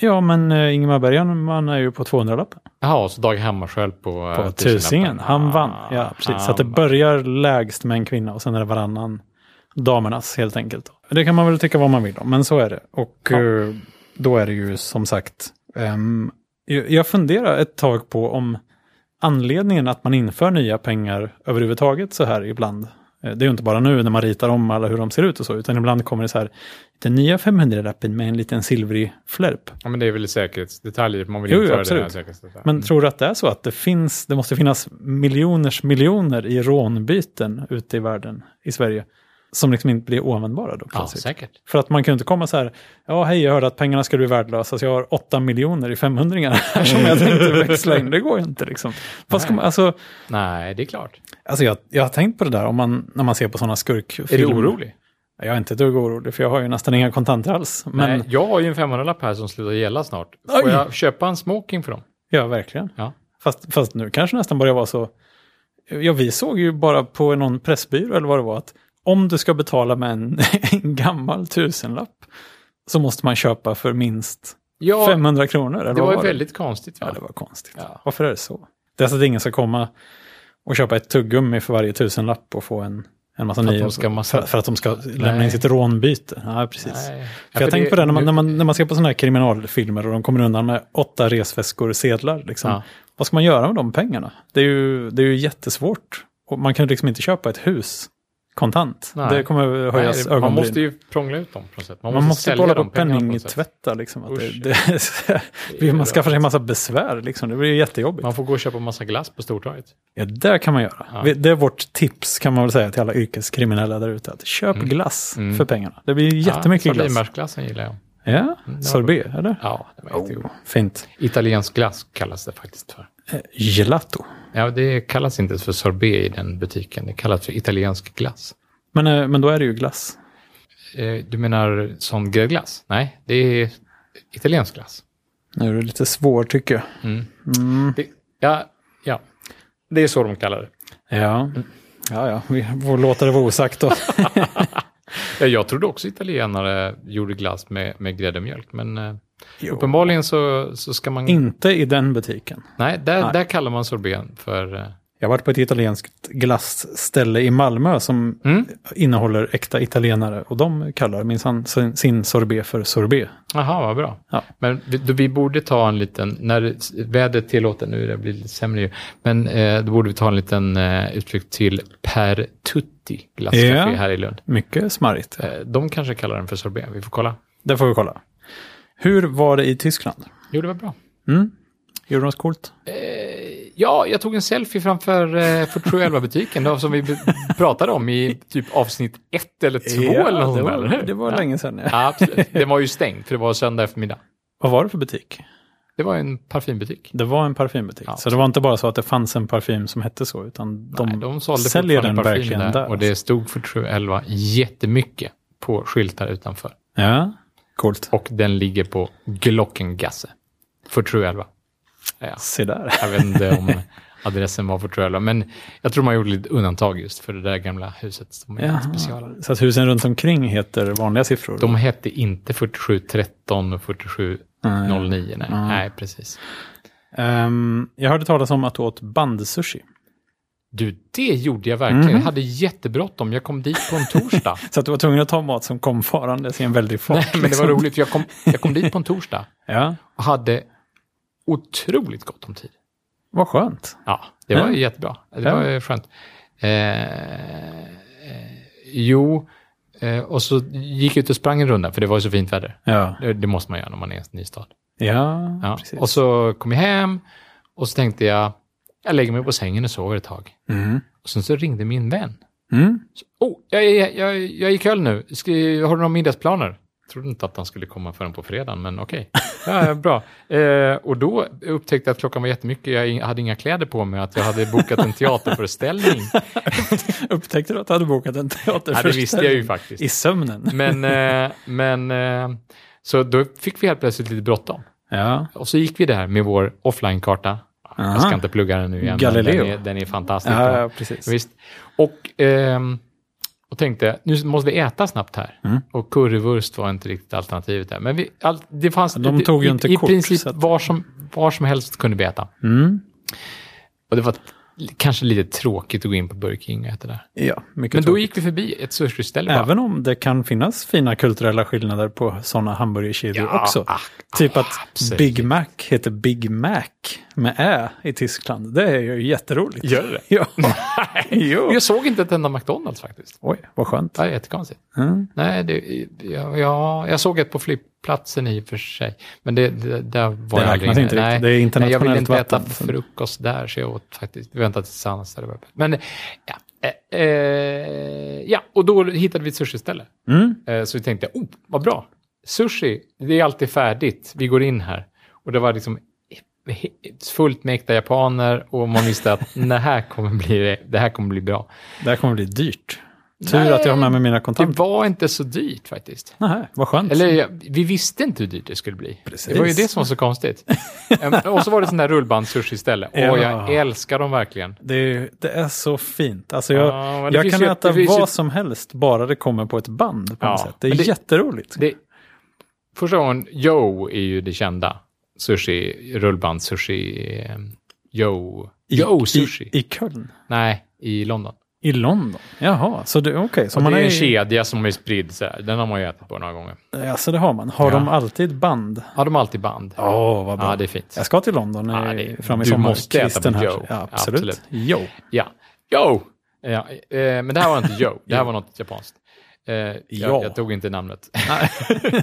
S2: Ja, men eh, Ingemar Bergman är ju på 200-lappen.
S1: Jaha, så Dag Hammarskjöld på... eh, tusenlappen.
S2: På tusingen. Han vann.
S1: Ah,
S2: Ja, precis. Så att det
S1: han-
S2: börjar lägst med en kvinna och sen är det varannan damernas helt enkelt. Det kan man väl tycka vad man vill om, men så är det. Och
S1: Ja.
S2: eh, då är det ju som sagt, ehm, jag jag funderar ett tag på om anledningen att man inför nya pengar överhuvudtaget så här ibland, eh, det är ju inte bara nu när man ritar om alla hur de ser ut och så, utan ibland kommer det så här, den nya 500-lappen med en liten silvrig flärp.
S1: Ja, men det är väl säkerhetsdetaljer. Man vill
S2: Jo, jo,
S1: införa det här
S2: absolut.
S1: säkerhetsdetaljer.
S2: Men tror du att det är så att det finns, det måste finnas miljoners miljoner i rånbyten ute i världen, i Sverige, som liksom inte blir oanvändbara då
S1: Ja,
S2: plötsligt.
S1: säkert.
S2: För att man kan ju inte komma så här, ja hej jag hörde att pengarna skulle bli värdelösa så jag har 8 miljoner i 500 här som jag
S1: Mm.
S2: tänkte växla in. Det går ju inte liksom. Vad ska man, alltså,
S1: Nej, det är klart.
S2: alltså jag, jag har tänkt på det där om man, när man ser på sådana skurkfilmer.
S1: Är du orolig?
S2: Jag är inte ett dugg orolig för jag har ju nästan inga kontanter alls. Men
S1: Nej, jag har ju en 500-lapp här som slutar gälla snart. Får
S2: Oj!
S1: jag köpa en smoking för dem?
S2: ja, verkligen.
S1: Ja.
S2: Fast, fast nu kanske nästan börjar vara så, ja vi såg ju bara på någon pressbyrå eller vad det var att om du ska betala med en, en gammal tusenlapp så måste man köpa för minst
S1: Ja,
S2: 500 kronor. Eller
S1: det
S2: vad
S1: var ju
S2: var
S1: väldigt konstigt. Va?
S2: Ja, det var konstigt.
S1: Ja.
S2: Varför är det så? Det är så att ingen ska komma och köpa ett tuggummi för varje tusenlapp och få en, en massa
S1: För att
S2: nya.
S1: de ska massa-
S2: för, för att de ska lämna
S1: Nej.
S2: in sitt rånbyte. Ja, precis.
S1: Nej.
S2: För
S1: för
S2: jag tänker på det när man,
S1: nu-
S2: när, man, när man ser på sådana här kriminalfilmer och de kommer undan med åtta resväskor och sedlar. Liksom.
S1: Ja.
S2: Vad ska man göra med de pengarna? Det är ju, det är ju jättesvårt. Och man kan ju liksom inte köpa ett hus kontant.
S1: Nej.
S2: Det kommer
S1: Nej,
S2: höjas
S1: det- man
S2: ögonbryn.
S1: måste ju prångla ut dem på något sätt. Man måste,
S2: Man måste ju
S1: sälja
S2: kolla
S1: de
S2: på
S1: pengarna på något sätt.
S2: penningtvätta. Liksom, att det,
S1: Usch.
S2: det, är så här-
S1: Det är
S2: man skaffar sig
S1: rörigt.
S2: en massa besvär. Liksom. Det blir ju jättejobbigt.
S1: Man får gå och köpa massa glass på Stortorget.
S2: Ja, det kan man göra.
S1: Ja.
S2: Vi- Det är vårt tips kan man väl säga till alla yrkeskriminella där ute. Att köp glass
S1: Mm.
S2: för pengarna. Det blir ju jättemycket
S1: ja,
S2: glass.
S1: Sorbetbärsglassen gillar jag.
S2: Ja,
S1: var
S2: sorbet, eller?
S1: Ja, det var jättegod.
S2: Oh, fint.
S1: Italiensk glass kallas det faktiskt för.
S2: Eh, Gelato.
S1: Ja, det kallas inte för sorbet i den butiken. Det kallas för italiensk glass.
S2: Men, eh, men då är det ju glass.
S1: Eh, Du menar sån gräddglass? Nej, det är italiensk glass.
S2: Nu är det lite svår tycker jag.
S1: Mm.
S2: Mm.
S1: Det, ja, ja, det är så de kallar det.
S2: Ja. ja, ja, vi får låta det vara osagt då.
S1: Ja, Jag trodde också italienare gjorde glass med, med grädde och mjölk, men eh,
S2: Jo.
S1: uppenbarligen så, så ska man...
S2: Inte i den butiken.
S1: nej, där,
S2: Nej.
S1: där kallar man sorbet för... eh,
S2: Jag har varit på ett italienskt glassställe i Malmö som
S1: Mm.
S2: innehåller äkta italienare och de kallar minsann sin- sin sorbet för sorbet.
S1: Jaha, vad bra.
S2: Ja.
S1: Men vi, då vi borde ta en liten, när det- vädret tillåter, nu det blir lite sämre ju, men eh, då borde vi ta en liten eh, utflykt till Per Tutti glasscafé
S2: Ja.
S1: här i Lund.
S2: Mycket smarrigt.
S1: Eh, de kanske kallar den för sorbet, vi får kolla.
S2: Det får vi kolla. Hur var det i Tyskland?
S1: Jo, det var bra.
S2: Mm? Gjorde de något coolt?
S1: Eh, ja, jag tog en selfie framför eh, för True Elva-butiken, då, som vi be- pratade om i typ avsnitt ett eller två eller något
S2: det
S1: sånt där,
S2: var,
S1: eller hur?
S2: det var
S1: ja.
S2: länge sedan. Ja.
S1: Ja, absolut. Den var ju stängd, för det var söndag eftermiddag.
S2: Vad var det för butik?
S1: Det var ju en parfymbutik.
S2: Det var en parfymbutik.
S1: Ja.
S2: Så det var inte bara så att det fanns en parfym som hette så, utan de,
S1: Nej, de sålde
S2: säljer den
S1: fortfarande parfym
S2: verkligen där. alltså.
S1: Och det stod för True 11 jättemycket på skyltar utanför.
S2: Ja, coolt.
S1: Och den ligger på Glockengasse. För True 11.
S2: Se där.
S1: Jag vet inte om adressen var för True 11, men jag tror man gjorde lite undantag just för det där gamla huset. Som är
S2: Ja.
S1: specialare.
S2: Så att husen runt omkring heter vanliga siffror.
S1: De hette inte 4713 och 4709. Nej,
S2: Mm.
S1: nej precis.
S2: Ehm, jag hörde talas om att du åt bandsushi.
S1: Du, det gjorde jag verkligen.
S2: Mhm.
S1: Jag hade jättebråttom. Jag kom dit på en torsdag.
S2: Så att du var tvungen att ta mat som kom farandes i en väldig fart.
S1: Nej, men det var
S2: liksom.
S1: roligt, för jag kom, jag kom dit på en torsdag.
S2: Ja,
S1: och hade otroligt gott om tid.
S2: vad skönt.
S1: Ja, det var
S2: Ja.
S1: ju jättebra. Det
S2: Ja.
S1: var ju skönt. Eh, eh, jo, eh, och så gick jag ut och sprang en runda, för det var ju så fint väder.
S2: Ja,
S1: Det, det måste man göra när man är i en ny stad.
S2: ja,
S1: Ja.
S2: precis.
S1: Och så kom jag hem och så tänkte jag, jag lägger mig på sängen och sover ett tag.
S2: Mm.
S1: Och sen så ringde min vän.
S2: Mm.
S1: Så, oh, jag, är- jag, jag är i Köln nu. Ska, har du några middagsplaner? Trodde inte att han skulle komma förrän på fredagen, men okej. Ja, ja, bra. Eh, och då upptäckte jag att klockan var jättemycket. Jag in- hade inga kläder på mig, att jag hade bokat en teaterföreställning.
S2: Upptäckte du att du hade bokat en
S1: ja,
S2: teaterföreställning?
S1: det visste jag ju faktiskt.
S2: I sömnen.
S1: Men, eh, men eh, så då fick vi helt plötsligt lite bråttom.
S2: Ja,
S1: Och så gick vi där med vår offline-karta. Jag
S2: Aha.
S1: ska inte plugga den nu igen. men
S2: Galileo.
S1: Den är, den är fantastisk.
S2: ja, ja precis.
S1: Visst. Och, ehm, och tänkte, nu måste vi äta snabbt här.
S2: Mm.
S1: Och currywurst var inte riktigt alternativet där. Men vi, all, det fanns,
S2: De
S1: det-
S2: tog ju
S1: i,
S2: inte
S1: i
S2: kort,
S1: princip
S2: så att-
S1: var, som, var som helst kunde vi äta.
S2: Mm.
S1: Och det var t- kanske lite tråkigt att gå in på Burger King och äta där.
S2: Ja, mycket
S1: Men
S2: tråkigt.
S1: då gick vi förbi ett sushiställe bara.
S2: Även om det kan finnas fina kulturella skillnader på sådana hamburgerkedjor
S1: Ja,
S2: också.
S1: ah,
S2: typ att
S1: absolut.
S2: Big Mac heter Big Mac med Ä i Tyskland. Det är ju jätteroligt.
S1: Gör det?
S2: Ja. jo.
S1: Jag såg inte ett enda McDonalds faktiskt.
S2: Oj, vad skönt.
S1: Det är jättekonstigt.
S2: Mm.
S1: Nej, det, jag, jag, jag såg ett på Flip, platsen i och för sig. Men det, det, där var
S2: Det
S1: jag
S2: räknas inte
S1: Nej.
S2: riktigt. Det är
S1: Nej, jag ville
S2: internationellt
S1: inte äta
S2: vatten.
S1: frukost där, så jag åt faktiskt, vi väntade tills Sannas hade börjat. Men ja, eh, eh, ja, och då hittade vi ett sushiställe.
S2: Mm.
S1: Eh, så vi tänkte, oh, vad bra, sushi, det är alltid färdigt, vi går in här. Och det var liksom fullt med äkta japaner och man visste att det här kommer bli, det- det här kommer bli bra.
S2: Det här kommer bli dyrt. Tur
S1: Nej.
S2: att jag har med mig mina
S1: Det
S2: kontanter.
S1: var inte så dyrt faktiskt.
S2: Nähä, vad skönt.
S1: Eller ja, vi visste inte hur dyrt det skulle bli.
S2: Precis.
S1: Det var ju det som var så konstigt. Em, och så var det sån där rullbandssushi istället. Åh,
S2: Ja.
S1: jag älskar dem verkligen.
S2: Det, är, det är så fint. Alltså jag
S1: Ja, men det
S2: jag
S1: finns
S2: kan
S1: ju-
S2: äta
S1: det finns ju-
S2: vad som helst bara det kommer på ett band. På
S1: Ja,
S2: något sätt. Det är
S1: men det-
S2: jätteroligt.
S1: Det, första gången, Yo är ju det kända. Sushi, rullband, sushi, em, Yo. Yo oh, sushi.
S2: I, I Köln?
S1: Nej, i London.
S2: I London? Jaha, så det, okej. Så
S1: Och
S2: man
S1: det är
S2: är
S1: en
S2: i,
S1: kedja som är spridd så här. Den har man ju ätit på några gånger.
S2: alltså det har man. Har
S1: Ja.
S2: de alltid band?
S1: Ja, de har alltid band.
S2: Åh, vad bra.
S1: Ja, det är fint.
S2: Jag ska till London eh,
S1: Ja, det-
S2: fram i
S1: du
S2: sommar.
S1: måste äta
S2: Kristen
S1: på
S2: här.
S1: Joe.
S2: Ja, absolut.
S1: Absolut.
S2: Jo.
S1: Ja. Yo! Ja, eh, men det här var inte Yo, det här var något japanskt. Eh, jag,
S2: Ja.
S1: jag tog inte namnet.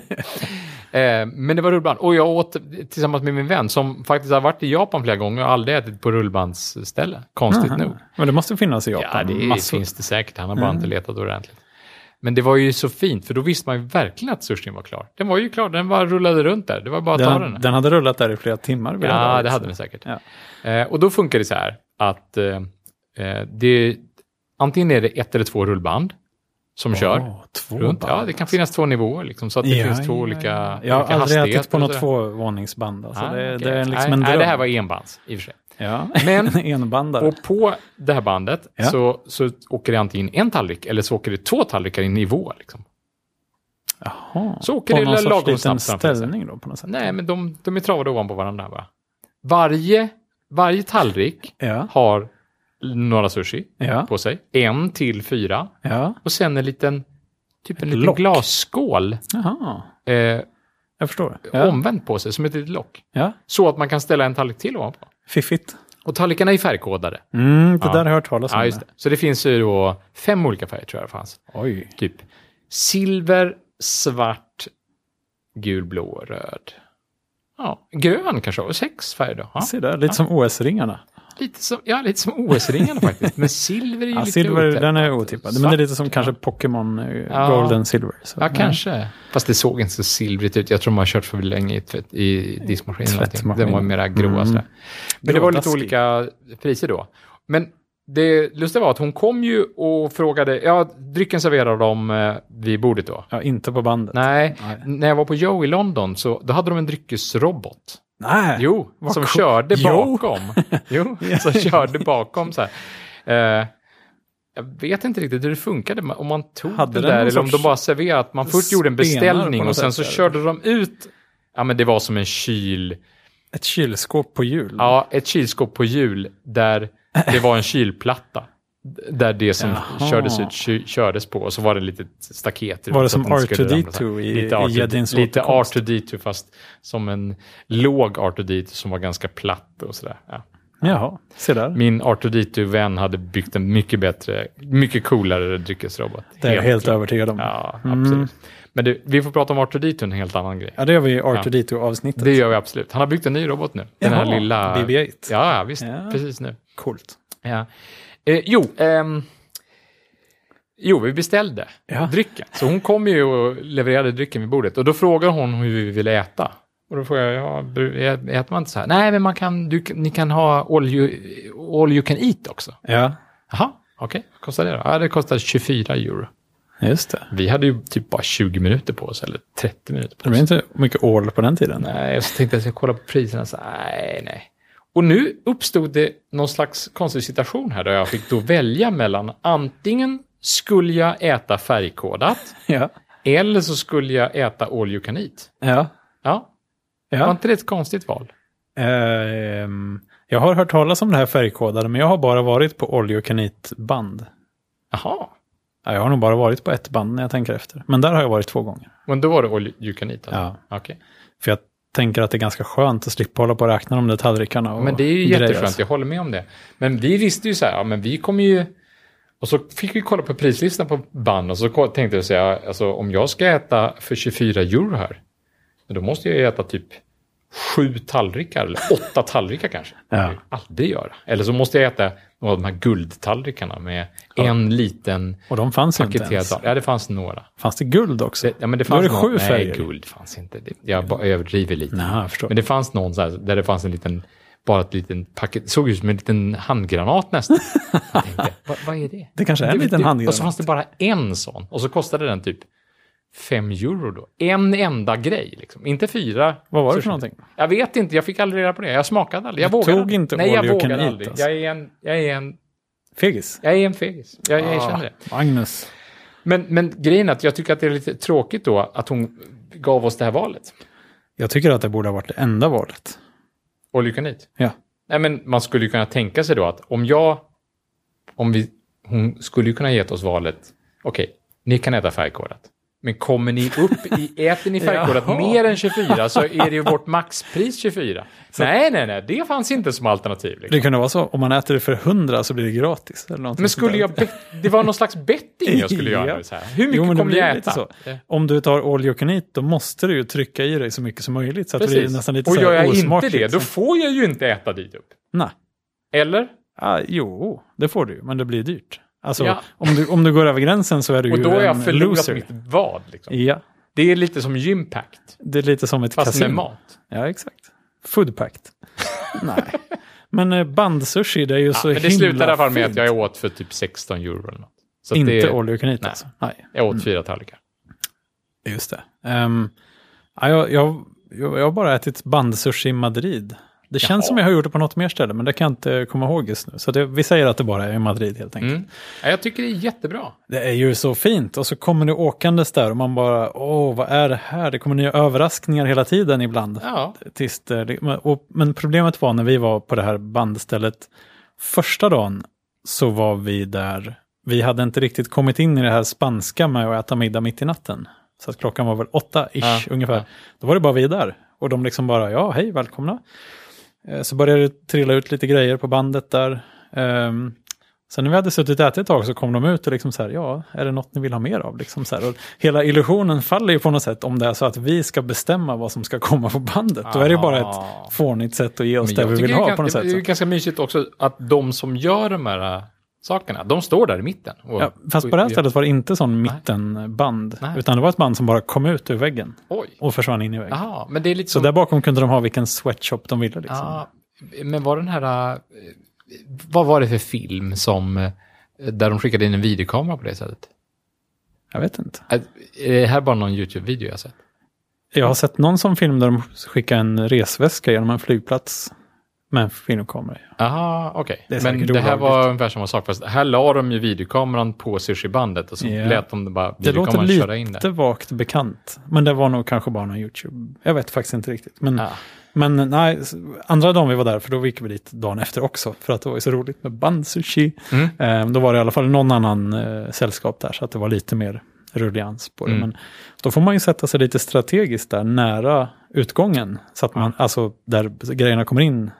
S1: eh, men det var rullband. Och jag åt tillsammans med min vän som faktiskt har varit i Japan flera gånger och aldrig ätit på rullbandsställe. Konstigt nog.
S2: Men det måste finnas i
S1: Ja,
S2: Japan.
S1: det
S2: massor. Mm.
S1: finns det säkert. Han har bara inte letat ordentligt. Men det var ju så fint, för då visste man ju verkligen att sushin var klar. Den var ju klar, den bara rullade runt där. Det var bara att ta den.
S2: Den, den hade rullat där i flera timmar. vill jag
S1: Ja,
S2: ha
S1: det
S2: sagt.
S1: hade den säkert. Eh, och då funkar det så här att eh, eh, det, antingen är det ett eller två rullband som kör.
S2: Åh, två
S1: Runt.
S2: band.
S1: Ja, det kan finnas två nivåer, liksom, så att det
S2: Ja,
S1: finns två
S2: ja,
S1: olika,
S2: ja.
S1: olika
S2: Jag har aldrig ätit på
S1: hastigheter och
S2: något
S1: sådär.
S2: tvåvåningsband. Alltså.
S1: Ah,
S2: det,
S1: okej.
S2: det är liksom
S1: nej,
S2: en dröm.
S1: nej, det här var enbands i och för sig.
S2: ja.
S1: Men-
S2: Enbandare.
S1: Och på det här bandet
S2: Ja.
S1: så, så åker det antingen en tallrik eller så åker det två tallrikar i nivå. Liksom.
S2: Jaha.
S1: så åker
S2: på
S1: det
S2: någon
S1: lagom
S2: sorts liten
S1: snabbt framför sig.
S2: ställning då på något sätt.
S1: Nej, men de, de är travade ovanpå varandra. Va? Varje, varje tallrik
S2: Ja,
S1: har några sushi
S2: ja,
S1: på sig. En till fyra.
S2: ja.
S1: Och sen en liten, typ en liten
S2: lock.
S1: glasskål
S2: Jaha.
S1: eh,
S2: Jag förstår. Ja.
S1: omvänd på sig som ett litet lock.
S2: ja.
S1: Så att man kan ställa en tallrik till ovanpå.
S2: Fiffigt.
S1: Och tallrikarna är färgkodade.
S2: Mm, det
S1: Ja.
S2: där har jag hört talas om.
S1: Ja, just det. Så det finns ju då fem olika färger tror jag det fanns.
S2: Oj.
S1: Typ silver, svart, gul, blå, röd. Ja, grön kanske, och sex färger då. Ja,
S2: Se där, lite som OS-ringarna.
S1: lite som, ja, lite som OS-ringarna faktiskt. Men silver är ju
S2: Ja,
S1: lite
S2: silver,
S1: otippat.
S2: den är otippad. Men det är lite som kanske Pokémon eh, Golden Silver. Så.
S1: Ja, kanske. Fast det såg inte så silvrigt ut. Jag tror de har kört för länge i, tvätt, i diskmaskinen. eller någonting.
S2: Tvättmaskin.
S1: Den var mera grå.
S2: Mm.
S1: sådär. Men det var lite
S2: Grådaskig.
S1: olika priser då. Men det lustiga var att hon kom ju och frågade, ja, drycken serverade de eh, vid bordet då.
S2: Ja, inte på bandet.
S1: Nej,
S2: Nej.
S1: när jag var på Joe i London så då hade de en dryckesrobot.
S2: Nej.
S1: Jo,
S2: Vad
S1: som
S2: coolt.
S1: körde
S2: Jo.
S1: bakom. Jo, som körde bakom så här. Eh, jag vet inte riktigt hur det funkade, men om man tog
S2: Hade
S1: det
S2: den
S1: där
S2: någon
S1: eller om de
S2: sorts
S1: bara serverade att man först gjorde en
S2: spenare på
S1: beställning
S2: något
S1: och sen
S2: sätt,
S1: så
S2: eller?
S1: körde de ut. Ja, men det var som en kyl.
S2: Ett kylskåp på hjul.
S1: Ja, ett kylskåp på hjul där det var en kylplatta. Där det som
S2: Jaha.
S1: kördes ut ky, kördes på och så var det ett litet staket. runt
S2: Var det
S1: så
S2: som
S1: att den inte skulle ramla
S2: R2D2
S1: så här.
S2: i-
S1: lite
S2: i
S1: R2D2,
S2: Jedins
S1: Lite
S2: återkomst?
S1: R2D2 fast som en låg R2D2 som var ganska platt och sådär. Ja.
S2: Jaha, se där.
S1: Min R2D2-vän hade byggt en mycket bättre, mycket coolare dryckesrobot.
S2: Det är jag helt Mm. övertygad om. Ja.
S1: Ja, absolut. Men du, vi får prata om R2D2, en helt annan grej.
S2: det gör vi i R2D2-avsnittet.
S1: Det gör vi absolut. Han har byggt en ny robot nu. Den
S2: Jaha,
S1: här lilla...
S2: BB-8.
S1: Ja, visst.
S2: Ja.
S1: Precis nu.
S2: Coolt.
S1: Ja. Eh, jo, ehm, jo, vi beställde
S2: Ja.
S1: drycken. Så hon kom ju och levererade drycken vid bordet. Och då frågade hon hur vi ville äta. Och då frågade jag, ja, bru- äter man inte så här? Nej, men man kan, du, ni kan ha all you, all you can eat också.
S2: Ja,
S1: Jaha, okej. Vad kostar det då? Ja, det kostar 24 euro.
S2: just det.
S1: Vi hade ju typ bara 20 minuter på oss, eller 30 minuter på
S2: Det var inte mycket ål på den tiden.
S1: Nej, och så tänkte jag att jag ska kolla på priserna. Så, nej, nej. Och nu uppstod det någon slags konstig situation här där jag fick då välja mellan antingen skulle jag äta färgkodat
S2: Ja,
S1: eller så skulle jag äta all you can eat.
S2: ja,
S1: Ja, var
S2: ja.
S1: inte det ett konstigt val?
S2: Ehm, jag har hört talas om det här färgkodade, men jag har bara varit på olje och kanitband.
S1: Jaha,
S2: Ja, jag har nog bara varit på ett band när jag tänker efter. Men där har jag varit två gånger.
S1: men då var det all you can eat? Alltså.
S2: Ja.
S1: Okej.
S2: För jag tänker att det är ganska skönt att slippa hålla på och räkna de där tallrikarna. Och
S1: Men det är ju
S2: grejer,
S1: jätteskönt,
S2: alltså.
S1: jag håller med om det. Men vi visste ju så här, ja, men vi kommer ju... Och så fick vi kolla på prislistan på band och så ko- tänkte jag säga, alltså om jag ska äta för 24 euro här, Men då måste jag ju äta typ sju tallrikar, eller åtta tallrikar kanske. Det kan jag ju aldrig göra. Eller så måste jag äta några av de här guldtallrikarna med en liten
S2: Och de fanns ju inte
S1: paketerad
S2: ens.
S1: tallrik. Ja, det fanns några.
S2: Fanns det guld också?
S1: Det, ja, men det
S2: Då är
S1: fanns
S2: det
S1: någon-
S2: sju färger.
S1: Nej, guld fanns inte. Det- Jag bara överdriver lite.
S2: Jaha, jag förstår.
S1: Men det fanns någon så här, där det fanns en liten, bara ett liten paket, det såg ut som en liten handgranat nästan. Jag tänkte, vad, vad är det?
S2: Det kanske är en
S1: Det-
S2: liten
S1: det-
S2: handgranat.
S1: Och så fanns det bara en sån. Och så kostade den typ fem euro då. En enda grej, liksom. inte fyra.
S2: Vad var det
S1: Så-
S2: för någonting?
S1: Jag vet inte, jag fick aldrig reda på det. Jag smakade aldrig, jag
S2: Du
S1: vågade
S2: tog
S1: aldrig.
S2: inte
S1: Nej, jag
S2: all you can
S1: vågade
S2: eat,
S1: aldrig.
S2: alltså.
S1: Jag är en, jag är en,
S2: Fegis?
S1: jag är en fegis. Jag, jag erkänner det.
S2: Ah, Magnus.
S1: Men, men grejen är att jag tycker att det är lite tråkigt då att hon gav oss det här valet.
S2: Jag tycker att det borde ha varit det enda valet.
S1: All you can eat.
S2: Ja.
S1: Nej, men man skulle ju kunna tänka sig då att om jag, om vi, hon skulle ju kunna gett oss valet, okej, ni kan äta färgkodat. Men kommer ni upp i, äter ni färgkodat
S2: Jaha.
S1: mer än 24 så är det ju vårt maxpris 24. Nej, nej, nej, det fanns inte som alternativ. Liksom.
S2: Det kunde vara så. Om man äter det för 100 så blir det gratis. Eller någonting
S1: Men
S2: sånt
S1: skulle
S2: där.
S1: jag, bet, det var någon slags betting jag skulle göra.
S2: Ja.
S1: nu Så här. Hur mycket
S2: Jo, men det
S1: kommer
S2: blir
S1: jag
S2: lite
S1: äta?
S2: så. Om du tar all you can eat, då måste du ju trycka i dig så mycket som möjligt. Så att det blir nästan lite
S1: Och
S2: så här
S1: gör jag inte
S2: osmakligt. liksom.
S1: det, då får jag ju inte äta dit upp.
S2: Nej.
S1: Eller?
S2: Ah, jo, det får du ju, men det blir dyrt. Alltså,
S1: Ja.
S2: om, du, om du går över gränsen så är du
S1: Och
S2: ju
S1: då har
S2: en
S1: jag förlorat
S2: loser.
S1: mitt vad. Liksom.
S2: Ja,
S1: Det är lite som gympact,
S2: det är lite som ett
S1: fast med
S2: kasino.
S1: mat.
S2: Ja, exakt. Food pact. Nej. Men eh, bandsushi, det är ju så
S1: men
S2: himla
S1: det slutade i alla fall med
S2: fint.
S1: att jag åt för typ 16 euro eller något. Så att
S2: Inte
S1: det,
S2: all you can eat
S1: Nej.
S2: alltså. Nej,
S1: jag åt fyra tallrikar.
S2: just det. Ehm, ja, jag, jag, jag jag har bara ätit bandsushi i Madrid. Det känns
S1: Jaha.
S2: som jag har gjort det på något mer ställe, men det kan jag inte komma ihåg just nu. Så det, vi säger att det bara är i Madrid helt enkelt.
S1: Mm. Ja, jag tycker det är jättebra.
S2: Det är ju så fint och så kommer du åkandes där och man bara, åh, vad är det här? Det kommer nya överraskningar hela tiden ibland.
S1: Ja.
S2: Tills det, men- och, men problemet var när vi var på det här bandstället första dagen så var vi där, vi hade inte riktigt kommit in i det här spanska med att äta middag mitt i natten. Så att klockan var väl åtta-ish
S1: Ja,
S2: ungefär.
S1: ja.
S2: Då var det bara vi där och de liksom bara, ja, hej, välkomna. Eh, Så började det trilla ut lite grejer på bandet där. Ehm, Sen när vi hade suttit och ätit ett tag så kom de ut och liksom så här, ja, är det något ni vill ha mer av? Liksom så här. Och hela illusionen faller ju på något sätt om det är så att vi ska bestämma vad som ska komma på bandet. Då är det ju bara
S1: Ah.
S2: ett fånigt sätt att ge oss
S1: Men
S2: det
S1: jag
S2: vi
S1: tycker
S2: vill
S1: det är
S2: ha
S1: gan-
S2: på något sätt.
S1: Det är
S2: Så.
S1: ju ganska mysigt också att de som gör de här äh, sakerna, de står där i mitten. Och,
S2: Ja, fast på det här stället var det inte sån mittenband,
S1: Nej.
S2: utan det var ett band som bara kom ut ur väggen
S1: Oj.
S2: och försvann in i väggen.
S1: Jaha, men det är lite
S2: Så
S1: som...
S2: där bakom kunde de ha vilken sweatshop de ville. Liksom.
S1: ja, men var den här... äh, Vad var det för film som... äh, Där de skickade in en videokamera på det sättet?
S2: Jag vet inte.
S1: Äh, Är det här bara någon YouTube-video jag sett?
S2: Jag har sett någon sån film där de skickar en resväska genom en flygplats med en filmkamera.
S1: Jaha, okej.
S2: Det är
S1: Men
S2: säkert
S1: det här
S2: olagligt.
S1: var ungefär samma sak, fast här la de ju videokameran på sushibandet och så
S2: Ja.
S1: lät de bara
S2: Det låter
S1: videokameran köra in
S2: lite
S1: det.
S2: vagt bekant, men det var nog kanske bara någon YouTube. Jag vet faktiskt inte riktigt. Men,
S1: Ja.
S2: men nej, s- andra dagen vi var där, för då gick vi dit dagen efter också, för att det var ju så roligt med bandsushi.
S1: Mm.
S2: Eh, då var det i alla fall någon annan eh, sällskap där, så att det var lite mer rullians på det.
S1: Mm.
S2: Men då får man ju sätta sig lite strategiskt där, nära utgången, så att man, alltså där grejerna kommer in.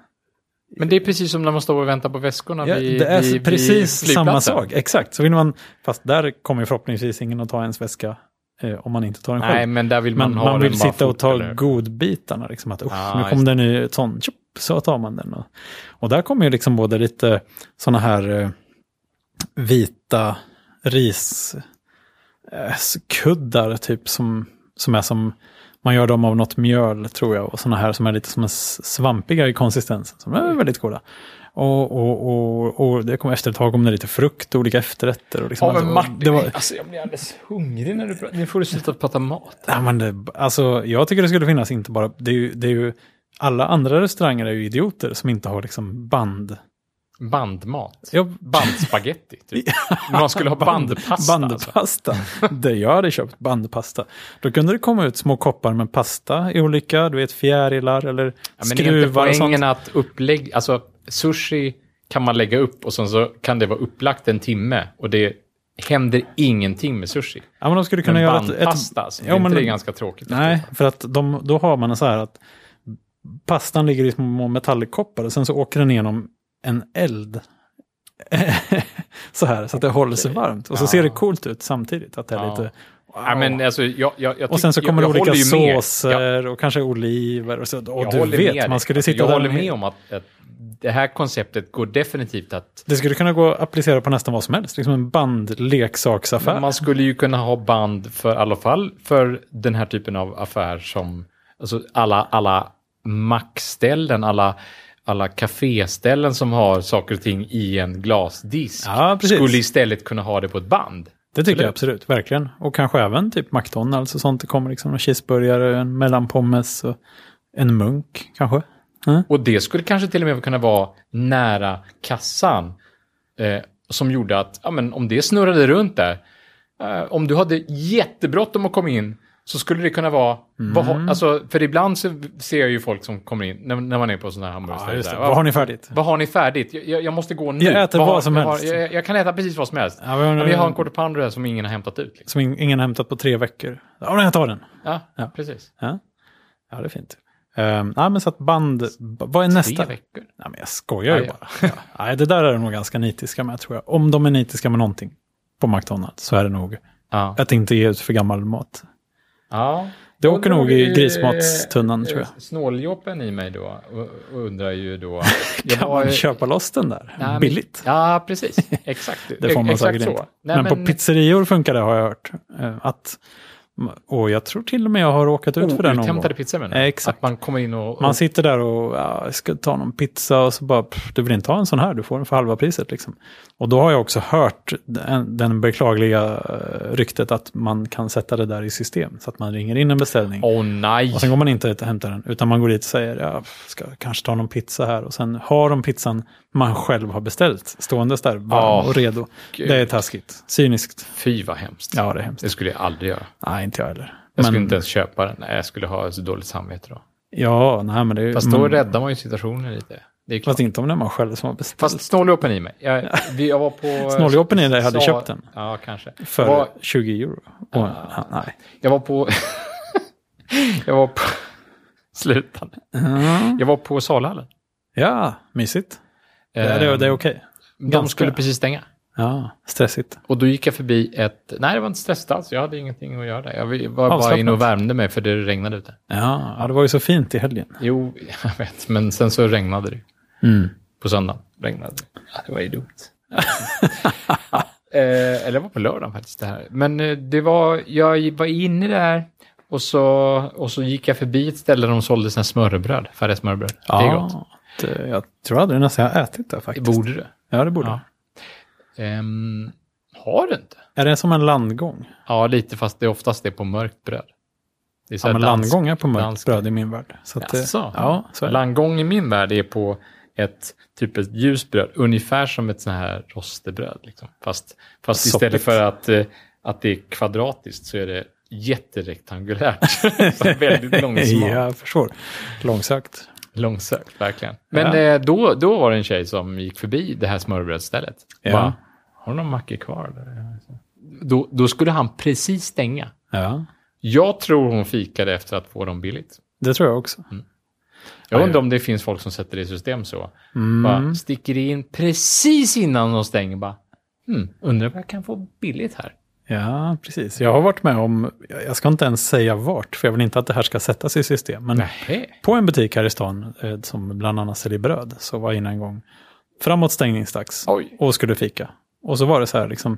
S1: Men det är precis som när man står och väntar på väskorna
S2: Ja,
S1: vid,
S2: det är
S1: vid,
S2: precis
S1: vid
S2: samma
S1: flygplatsen.
S2: sak, exakt. Så vill man, fast där kommer ju förhoppningsvis ingen att ta ens väska, eh, om man inte tar den själv.
S1: Nej, men där vill man
S2: Man,
S1: ha
S2: man, vill
S1: den bara
S2: sitta och
S1: fort,
S2: ta
S1: eller?
S2: godbitarna. Liksom, att, usch,
S1: Ah,
S2: nu kom
S1: just
S2: det en ny sån, tjopp, så tar man den. Och, och där kommer ju liksom både lite sådana här eh, vita riskuddar, typ som, som är som, man gör dem av något mjöl tror jag, och sådana här som är lite som en s- svampiga i konsistensen, som är väldigt goda. Och, och, och, och det kom efter ett tag om det lite frukt och olika efterrätter. Och liksom,
S1: Ja, men
S2: alltså,
S1: Martin,
S2: det var,
S1: alltså, jag blir alldeles hungrig när du pratar. Nu får du sluta prata mat.
S2: Ja, men det, alltså, jag tycker det skulle finnas inte bara, det är ju, det är ju alla andra restauranger är ju idioter som inte har liksom band.
S1: Bandmat.
S2: Ja,
S1: Bandspagetti, typ. Man skulle ha bandpasta. alltså.
S2: Bandpasta. det jag hade köpt, bandpasta. Då kunde det komma ut små koppar med pasta i olika, du vet fjärilar eller
S1: Ja, men är inte
S2: skruvar och sånt.
S1: poängen att upplägg, alltså sushi kan man lägga upp och sen så kan det vara upplagt en timme och det händer ingenting med sushi.
S2: Ja, men de skulle kunna
S1: Men
S2: göra ett, ett,
S1: bandpasta, alltså,
S2: Ja,
S1: är inte
S2: men-
S1: det ganska tråkigt?
S2: Nej, för att de, då har man så här att pastan ligger i små metallkoppar och sen så åker den igenom en eld. så här, så att det hålls varmt. Och så
S1: Ja.
S2: ser det coolt ut samtidigt, att det är
S1: Ja.
S2: lite
S1: Ja, men alltså, jag, jag, jag
S2: Och sen så
S1: tyck-
S2: kommer
S1: jag,
S2: det
S1: jag
S2: olika
S1: håller ju med. Jag-
S2: såser och kanske oliver och så. Och
S1: jag
S2: du
S1: håller
S2: vet,
S1: med
S2: man
S1: dig.
S2: skulle
S1: Alltså,
S2: sitta
S1: jag
S2: där
S1: håller
S2: med-
S1: med om att, att det här konceptet går definitivt att...
S2: Det skulle kunna gå att applicera på nästan vad som helst. Liksom en bandleksaksaffär.
S1: Man skulle ju kunna ha band för i alla fall för den här typen av affär som... Alltså alla, alla mackställen, alla, alla kaféställen som har saker och ting i en glasdisk.
S2: Ja, precis.
S1: skulle istället kunna ha det på ett band.
S2: Det tycker jag
S1: Eller?
S2: absolut, verkligen. Och kanske även typ McDonalds och sånt. Det kommer liksom en cheeseburgare, en mellanpommes och en munk kanske.
S1: Och det skulle kanske till och med kunna vara nära kassan. Eh, som gjorde att, ja men om det snurrade runt där. Eh, om du hade jättebråttom att komma in. Så skulle det kunna vara,
S2: Mm.
S1: vad har- alltså, för ibland så ser jag ju folk som kommer in när, när man är på sådana här
S2: Ja,
S1: hamburgerställen.
S2: just det.
S1: där.
S2: Vad har ni färdigt?
S1: vad har ni färdigt? Jag- Jag, jag måste gå nu.
S2: Jag äter vad som
S1: jag har-
S2: helst. Mm.
S1: Jag, jag kan äta precis vad som helst.
S2: Ja, vi har-
S1: Ja, vi har en quarter pounder här som ingen har hämtat ut. Liksom.
S2: Som in- ingen har hämtat på tre veckor. Ja, men jag tar den.
S1: Ja,
S2: Ja.
S1: precis.
S2: Ja, ja det är fint. Um, nej, men så att band... b- Vad är nästa?
S1: Tre veckor.
S2: Nej, men jag skojar ju
S1: Ja,
S2: bara. Ja. Nej, det där är de nog ganska nitiska med, tror jag. Om de är nitiska med någonting på McDonalds så är det nog
S1: Ja.
S2: att inte ge ut för gammal mat.
S1: ja.
S2: Det åker nog i grismatstunneln, tror jag.
S1: Snåljåpen i mig då och- och undrar ju då...
S2: Kan
S1: var
S2: man
S1: ju-
S2: köpa loss den där?
S1: Nej, men-
S2: Billigt.
S1: Ja, precis. Exakt.
S2: Det får man
S1: Exakt
S2: säkert
S1: så.
S2: inte.
S1: Nej,
S2: men, på pizzerior funkar det har jag hört. Eh, Att, och jag tror till och med jag har råkat ut för det någon gång.
S1: Outhämtade pizzor menar
S2: Eh,
S1: jag.
S2: exakt.
S1: Att man kommer in och... och
S2: Man sitter där och ja, ska ta någon pizza och så bara, pff, du vill inte ha en sån här, du får den för halva priset. Liksom. Och då har jag också hört den, den beklagliga eh, ryktet att man kan sätta det där i system. Så att man ringer in en beställning.
S1: Åh nej!
S2: Och sen går man inte ut och hämtar den, utan man går dit och säger, ja, ska jag kanske ta någon pizza här. Och sen har de pizzan man själv har beställt, ståendes där, varm
S1: Åh,
S2: och redo.
S1: gud.
S2: Det är taskigt, cyniskt.
S1: Fy vad hemskt.
S2: Ja, det är hemskt.
S1: Det skulle jag aldrig göra.
S2: Nej, inte jag heller.
S1: Jag
S2: Men,
S1: skulle inte ens köpa den. Nej, jag skulle ha så dåligt samvete då.
S2: Ja, nej, men det är ju...
S1: Fast då
S2: men-
S1: räddar man ju situationen lite. Det är klart.
S2: Fast inte om det är man själv som har beställt.
S1: Fast snåljåpen i mig. Jag, vi- jag var på...
S2: Snåljåpen i dig hade
S1: Sa-
S2: köpt den.
S1: Ja, kanske.
S2: För
S1: Var-
S2: 20 euro.
S1: Ah.
S2: Och, ja, nej.
S1: Jag var på... jag var på... Sluta nu.
S2: Mm.
S1: Jag var på Salhallen.
S2: Ja, mysigt. det, det, det är okej.
S1: Eh, De
S2: ganska.
S1: skulle precis stänga.
S2: Ja, stressigt.
S1: Och då gick jag förbi ett... Nej, det var inte stressigt alls. Jag hade ingenting att göra där. Jag var bara
S2: Avslappnat.
S1: inne och värmde mig för det regnade ute.
S2: Ja, ja, det var ju så fint i helgen.
S1: Jo, jag vet. Men sen så regnade det.
S2: Mm.
S1: På söndagen regnade det. Ja, Det var ju dumt. eh, eller det var på lördagen faktiskt det här. Men eh, det var... Jag var inne där. Och så, och så gick jag förbi ett ställe där de sålde sina smörrebröd. Färdiga smörrebröd. Det är gott.
S2: det- jag tror aldrig nästan jag har ätit det
S1: Det
S2: faktiskt.
S1: borde du.
S2: Ja, det borde
S1: Ja. Ehm, har du inte?
S2: Är det som en landgång?
S1: Ja, lite fast det oftast är på mörkt bröd. Det är så
S2: Ja,
S1: här
S2: men
S1: dansk-
S2: landgång är på mörkt
S1: dansk-
S2: bröd i min värld. Så att, eh,
S1: Jaså?
S2: Ja, så är det.
S1: Landgång i min värld är på ett typ ett ljust bröd, ungefär som ett sånt här rostebröd. Liksom. Fast, fast
S2: Soppigt.
S1: istället för att, eh, att det är kvadratiskt så är det jätterektangulärt. Så väldigt långsmalt.
S2: Ja, jag förstår. Långsökt.
S1: Långsökt, verkligen. Men
S2: Ja.
S1: eh, då, då var det en tjej som gick förbi det här smörbrödsstället.
S2: Ja.
S1: Bara, har du någon macka kvar? Där? Då, då skulle han precis stänga.
S2: Ja,
S1: Jag tror hon fikade efter att få dem billigt.
S2: det tror jag också.
S1: Jag undrar om det finns folk som sätter det i system så.
S2: Mm,
S1: Bara sticker in precis innan de stänger. Bara, hmm, undrar vad jag kan få billigt här.
S2: Ja, precis. Jag har varit med om, jag ska inte ens säga vart, för jag vill inte att det här ska sättas i system. Men
S1: Nähä.
S2: På en butik här i stan eh, som bland annat säljer bröd så var jag inne en gång framåt stängningsdags
S1: Oj.
S2: och skulle fika. Och så var det så här liksom,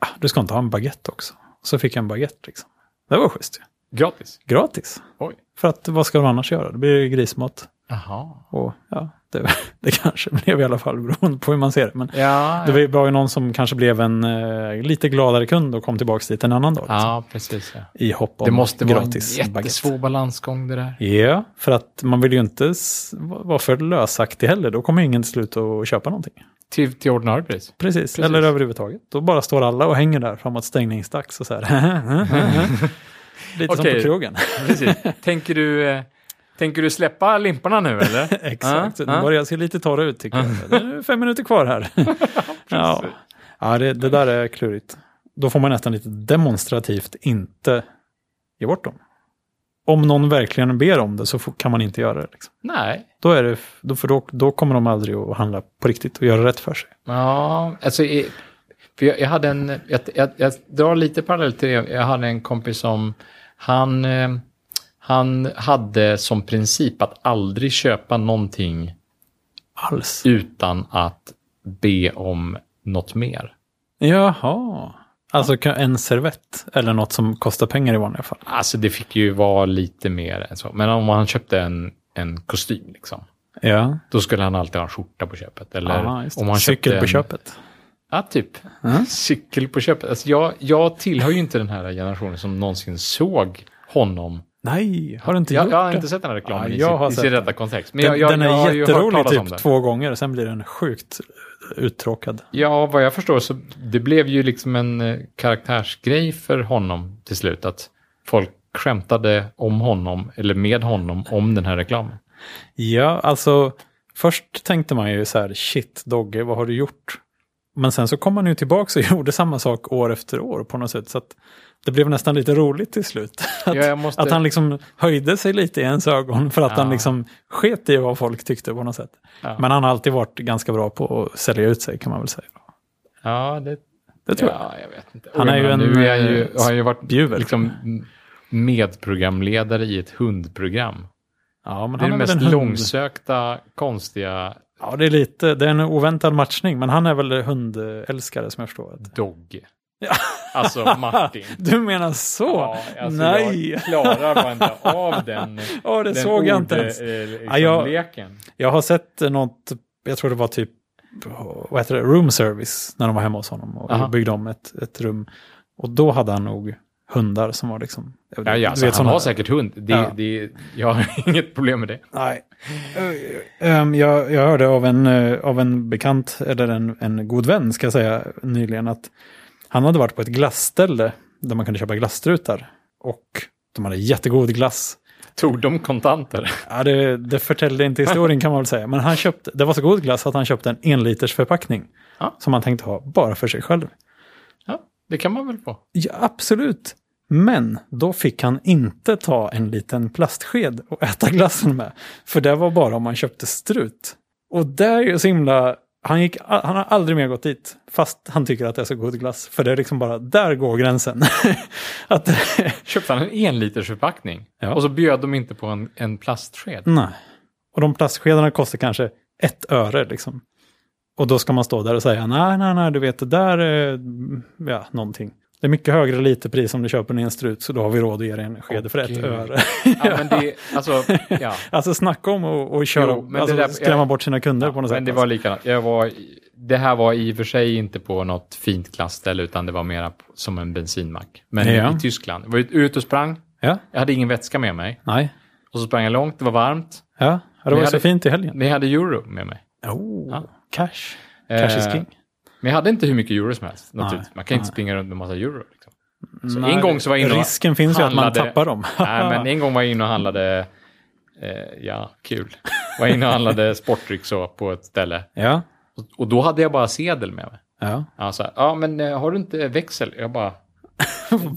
S2: ah, du ska inte ha en baguette också. Så fick jag en baguette liksom. Det var schysst ju.
S1: Gratis.
S2: Gratis.
S1: Oj.
S2: För att vad ska de annars göra? Det blir ju grismat.
S1: Jaha.
S2: Och ja, det, det kanske blev i alla fall beroende på hur man ser det. Men
S1: Ja,
S2: det var ju- var ju någon som kanske blev en eh, lite gladare kund och kom tillbaka dit en annan dag. Liksom,
S1: ja precis. Ja.
S2: I hopp om
S1: Det måste vara en
S2: gratis
S1: jättesvår balansgång det där.
S2: Ja, för att man vill ju inte s- va- vara för lösaktig heller. Då kommer ingen till slut att köpa någonting.
S1: Till, till ordinarie pris.
S2: Precis, eller överhuvudtaget. Då bara står alla och hänger där framåt stängningsdags och så här. Lite som på
S1: Okej.
S2: krogen.
S1: Precis. tänker, du, eh, tänker du släppa limporna nu eller?
S2: Exakt,
S1: Ja,
S2: nu
S1: ja.
S2: börjar jag se lite torr ut tycker jag. Det är fem minuter kvar här. ja, ja det, det där är klurigt. Då får man nästan lite demonstrativt inte ge bort dem. Om någon verkligen ber om det så får, kan man inte göra det. Liksom.
S1: Nej.
S2: Då, är det, då, för då, då kommer de aldrig att handla på riktigt och göra rätt för sig.
S1: Ja, alltså, eh, För jag, jag hade en, jag, jag, jag drar lite parallell till det, jag hade en kompis som, han, eh, han hade som princip att aldrig köpa någonting
S2: Alls.
S1: utan att be om något mer.
S2: Jaha. Alltså kan- en servett eller något som kostar pengar i vanliga fall.
S1: Alltså det fick ju vara lite mer än så. Men om han köpte en, en kostym liksom.
S2: Ja.
S1: Då skulle han alltid ha en skjorta på köpet. Eller
S2: Aha, Ah, just det.
S1: om han
S2: Cykel
S1: köpte
S2: på
S1: en,
S2: köpet.
S1: Ja, typ.
S2: Mm.
S1: Cykel på köpet. Alltså jag, jag tillhör ju inte den här generationen som någonsin såg honom.
S2: Nej, har du inte
S1: Jag,
S2: gjort
S1: jag har
S2: det?
S1: inte sett den här reklamen
S2: Ja,
S1: i
S2: jag har
S1: sin, i
S2: sett
S1: sin
S2: den.
S1: rätta kontext. Men
S2: Den,
S1: jag, jag,
S2: den är
S1: jag har ju hört
S2: jätterolig
S1: talas om
S2: typ
S1: den.
S2: två gånger, sen blir den sjukt uttråkad.
S1: Ja, vad jag förstår så det blev ju liksom en eh, karaktärsgrej för honom till slut. Att folk skämtade om honom, eller med honom, om den här reklamen.
S2: Ja, alltså först tänkte man ju så här, shit Dogge, vad har du gjort? Men sen så kom han ju tillbaka och gjorde samma sak år efter år på något sätt. Så att det blev nästan lite roligt till slut. Att,
S1: ja, jag måste...
S2: att han liksom höjde sig lite i ens ögon för att
S1: Typ. Ja.
S2: han liksom sket i vad folk tyckte på något sätt.
S1: Ja.
S2: Men han har alltid varit ganska bra på att sälja ut sig kan man väl säga.
S1: Ja, det
S2: Det tror jag.
S1: ja, jag vet inte.
S2: Han
S1: Och
S2: är
S1: jag
S2: ju
S1: menar,
S2: en,
S1: Nu är han ju,
S2: eh,
S1: har han ju varit
S2: spjuvel.
S1: liksom m- medprogramledare i ett hundprogram.
S2: Ja, men
S1: Det är det
S2: väl en
S1: mest
S2: hund.
S1: långsökta, konstiga
S2: Ja, det är lite, det är en oväntad matchning, men han är väl hundälskare som jag förstår. det.
S1: dog. Alltså Martin.
S2: Du menar så?
S1: Ja, alltså,
S2: Nej!
S1: Jag klarar bara inte av den,
S2: Ja, det
S1: den
S2: såg jag inte
S1: ord-
S2: ens.
S1: eh, liksom,
S2: Ja, jag-
S1: leken.
S2: Jag har sett eh, något, jag tror det var typ, vad heter det, room service när de var hemma hos honom och
S1: Aha.
S2: byggde om ett, ett rum. Och då hade han nog hundar som var liksom...
S1: Ja, ja, alltså, han har säkert hund. Det,
S2: Ja.
S1: det, jag har inget problem med det.
S2: Nej. Ehm, jag, jag hörde av en, eh, av en bekant, eller en, en god vän ska jag säga, nyligen att han hade varit på ett glasställe där man kunde köpa glasstrutar. Och de hade jättegod glass.
S1: Tog de kontanter?
S2: Ja, det, det förtällde inte historien kan man väl säga. Men han köpte, det var så god glass att han köpte en enliters förpackning.
S1: Ja.
S2: Som han tänkte ha bara för sig själv.
S1: Ja, det kan man väl få.
S2: Ja, absolut. Men då fick han inte ta en liten plastsked och äta glassen med. För det var bara om man köpte strut. Och det är ju så himla... Han, gick, han har aldrig mer gått dit, fast han tycker att det är så god glass. För det är liksom bara, där går gränsen. att,
S1: Köpte han en enliters förpackning
S2: Ja.
S1: och så bjöd de inte på en, en plastsked.
S2: Nej. Och de plastskedarna kostar kanske ett öre liksom. Och då ska man stå där och säga nej, nej, nej, du vet det där är mm, ja, någonting. Det är mycket högre literpris om du köper en i en strut så då har vi råd att ge dig en sked
S1: Åh,
S2: för ett
S1: gud.
S2: öre.
S1: Ja, men det, alltså, ja.
S2: Alltså snacka om att- och köra,
S1: Jo, men det
S2: alltså,
S1: där-
S2: skrämma
S1: jag-
S2: bort sina kunder på något sätt. alltså.
S1: Men det var likadant. Jag var, det här var i och för sig inte på något fint klassställe utan det var mera p- som en bensinmack. Men
S2: Ja.
S1: i Tyskland. Jag var ut- ute och sprang.
S2: Ja,
S1: Jag hade ingen vätska med mig.
S2: nej,
S1: Och så sprang jag långt, det var varmt.
S2: ja, det var
S1: Vi
S2: ju så
S1: hade-
S2: fint i helgen.
S1: Men jag hade euro med mig.
S2: Oh,
S1: Ja.
S2: cash. Cash is
S1: Eh,
S2: king.
S1: Men jag hade inte hur mycket euro som helst.
S2: Nej.
S1: Naturligtvis. Man kan inte
S2: Nej.
S1: springa runt med massa euro. Liksom. Så
S2: Nej,
S1: en gång så var jag inne och,
S2: Risken finns ju att man
S1: handlade-
S2: tappar dem.
S1: nej, men en gång var jag inne och handlade, eh, ja, kul. Var inne och handlade sportdryck så på ett ställe.
S2: ja,
S1: Och, och då hade jag bara sedel med mig.
S2: ja.
S1: Ja, så här, ja men eh, har du inte växel? Jag bara,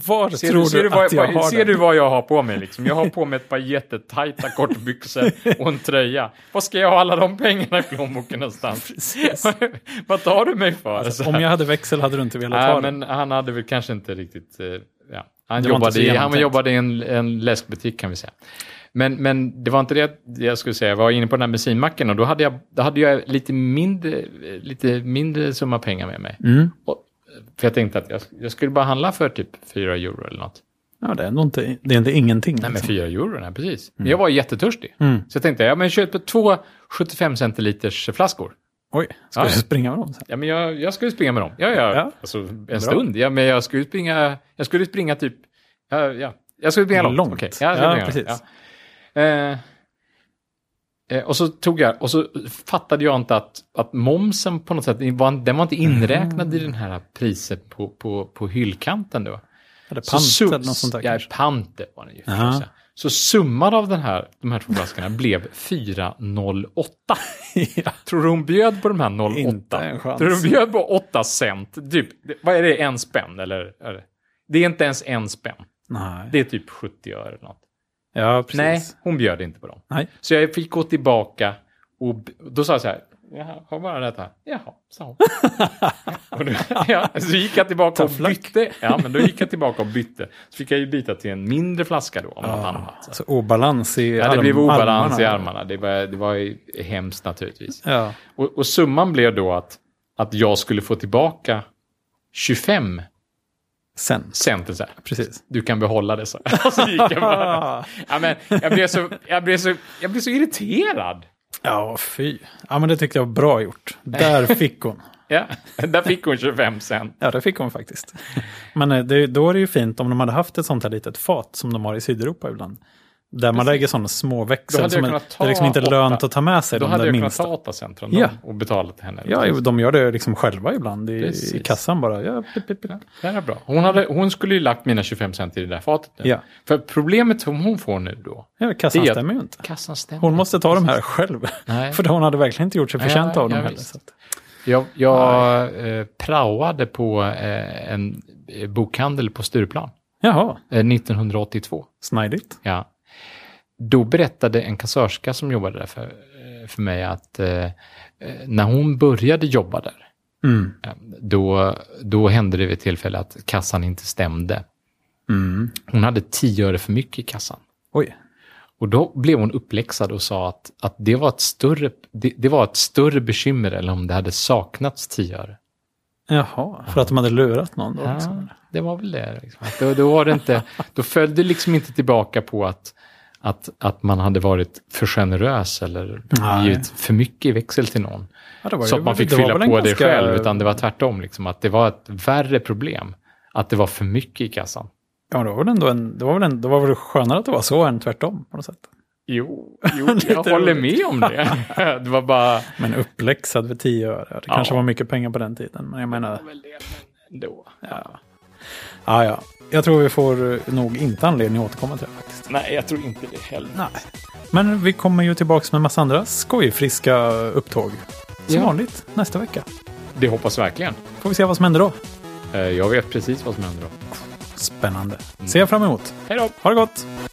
S2: Var
S1: Ser,
S2: tror
S1: du, ser, du,
S2: du
S1: vad,
S2: att jag har
S1: ser
S2: den?
S1: du vad jag har på mig? Liksom? Jag har på mig ett par jättetajta kortbyxor och en tröja. Vad ska jag ha alla de pengarna i plånboken någonstans? vad tar du mig för? Så
S2: Alltså, Om
S1: här.
S2: jag hade växel hade du inte velat
S1: Nej,
S2: ha den.
S1: men han hade väl kanske inte riktigt... eh, Ja. Han,
S2: Det var inte
S1: jobbade
S2: så
S1: i, han
S2: genomtänkt.
S1: jobbade i en, en läskbutik kan vi säga. Men, men det var inte det jag skulle säga. Jag var inne på den här bensinmacken och då hade jag, då hade jag lite, mindre, lite mindre summa pengar med mig.
S2: Mm.
S1: Och, för jag tänkte att jag, jag skulle bara handla för typ 4 euro eller något.
S2: Ja, det är ändå inte, det är inte ingenting.
S1: Nej, men
S2: liksom.
S1: fyra euro, nej, precis. Men jag var jättetörstig.
S2: Mm.
S1: Så jag tänkte, ja men köp två 75 centiliters flaskor.
S2: Oj, ska
S1: Ja,
S2: du
S1: ja.
S2: springa med dem sen?
S1: Ja, men jag, jag skulle springa med dem. Ja, ja.
S2: Ja.
S1: Alltså en stund. Ja, men jag skulle springa, jag skulle springa typ, ja, ja. Jag skulle springa långt.
S2: Långt.
S1: Okej, Ja, jag skulle
S2: Ja,
S1: springa långt.
S2: precis.
S1: Ja. Eh, eh, och så tog jag, och så fattade jag inte att, att momsen på något sätt, den var, den var inte inräknad i den här priset på, på, på hyllkanten då.
S2: Eller
S1: Så
S2: pant
S1: sum-
S2: eller något sånt där
S1: Ja,
S2: kanske?
S1: pant det var det ju.
S2: Ja.
S1: förstås, ja. Så summan av den här, de här två flaskorna blev 408.
S2: ja.
S1: Tror du hon bjöd på de här 08?
S2: Inte en chans.
S1: Tror du hon bjöd på 8 cent? Typ, det- vad är det, en spänn eller? Är det? det är inte ens en spänn.
S2: Nej.
S1: Det är typ 70 öre eller något.
S2: ja, precis.
S1: Nej, hon bjöd inte på dem.
S2: Nej.
S1: Så jag fick gå tillbaka och b- då sa jag så här, Jaha, har bara detta. Jaha, sa hon. och då, ja, så gick jag tillbaka och
S2: Tough luck.
S1: bytte. Ja, men då gick jag tillbaka och bytte. Så fick jag ju byta till en mindre flaska då, om något annat.
S2: Så obalans i
S1: Ja, det
S2: arm-
S1: blev obalans
S2: armarna.
S1: i armarna. Det var, det var ju hemskt naturligtvis.
S2: Ja.
S1: Och, och summan blev då att, att jag skulle få tillbaka 25
S2: Sen,
S1: cent. Så här.
S2: precis.
S1: Du kan behålla det, så. Och så gick jag bara. Ja, men, jag, blev så, jag, blev så, jag blev så irriterad.
S2: Ja, fy. Ja, men det tyckte jag var bra gjort. Där fick hon.
S1: Ja, där fick hon 25 cent.
S2: Ja, det fick hon faktiskt. Men eh, det, då är det ju fint om de hade haft ett sånt här litet fat som de har i Sydeuropa ibland. Där man lägger sådana små
S1: Då
S2: växel
S1: hade jag
S2: som är,
S1: kunnat
S2: det
S1: ta
S2: är liksom inte
S1: åtta.
S2: lönt att ta med sig
S1: Då
S2: de
S1: hade
S2: där
S1: jag kunnat
S2: minsta.
S1: ta 8 cent från
S2: Ja.
S1: dem och betalat till henne.
S2: Ja, jo, de gör det liksom själva ibland i, i
S1: Precis.
S2: kassan bara. Ja, pip, pip, pip.
S1: Det här är bra. Hon, hade, hon skulle ju lagt mina 25 cent i det där fatet nu.
S2: Ja.
S1: För problemet som hon får nu då,
S2: ja kassan
S1: Det är-
S2: stämmer ju inte.
S1: kassan stämmer.
S2: Hon måste ta de här själv.
S1: Nej.
S2: För hon hade verkligen inte gjort sig
S1: Nej,
S2: förtjänt av
S1: ja,
S2: dem heller.
S1: visst.
S2: Så att,
S1: Jag, jag eh, praoade på eh, en eh, bokhandel på Stureplan
S2: jaha,
S1: eh, 1982.
S2: snidigt.
S1: Ja. Då berättade en kassörska som jobbade där för, eh, för mig att eh, eh, när hon började jobba där,
S2: Mm.
S1: eh, då, då hände det vid ett tillfälle att kassan inte stämde.
S2: Mm.
S1: Hon hade 10 öre för mycket i kassan.
S2: Oj,
S1: Och då blev hon uppläxad och sa att, att det, var ett större, det, det var ett större bekymmer än om det hade saknats 10 öre.
S2: jaha, för att de hade lurat någon då. Liksom.
S1: Ja, det var väl det. Liksom. Att Då, då, var det inte, då föll det liksom inte tillbaka på att, att, att man hade varit för generös eller
S2: Nej.
S1: givit för mycket i växel till någon.
S2: Ja, det var
S1: Så
S2: ju-
S1: att man fick
S2: det var
S1: fylla
S2: väl en
S1: på det
S2: ganska-
S1: själv, utan det var tvärtom. Liksom, att det var ett värre problem. Att det var för mycket i kassan.
S2: Ja, det var väl ändå en, det var väl en, det var väl skönare att det var så än tvärtom på något sätt.
S1: Jo, jo
S2: Lite
S1: jag håller
S2: roligt.
S1: med om det. Det var bara...
S2: Men uppläxad för 10 öre, det
S1: Ja.
S2: kanske var mycket pengar på den tiden, men jag menar,
S1: Ändå.
S2: ja. Ja, ja. Jag tror vi får eh, nog inte anledning att återkomma till det faktiskt.
S1: Nej, jag tror inte det heller.
S2: Nej. Men vi kommer ju tillbaka med en massa andra skojfriska upptåg. Som
S1: Ja.
S2: vanligt nästa vecka.
S1: Det hoppas verkligen.
S2: Får vi se vad som händer då.
S1: Eh, Jag vet precis vad som händer då.
S2: Spännande. Ser jag fram emot.
S1: Hej då!
S2: Ha det gott!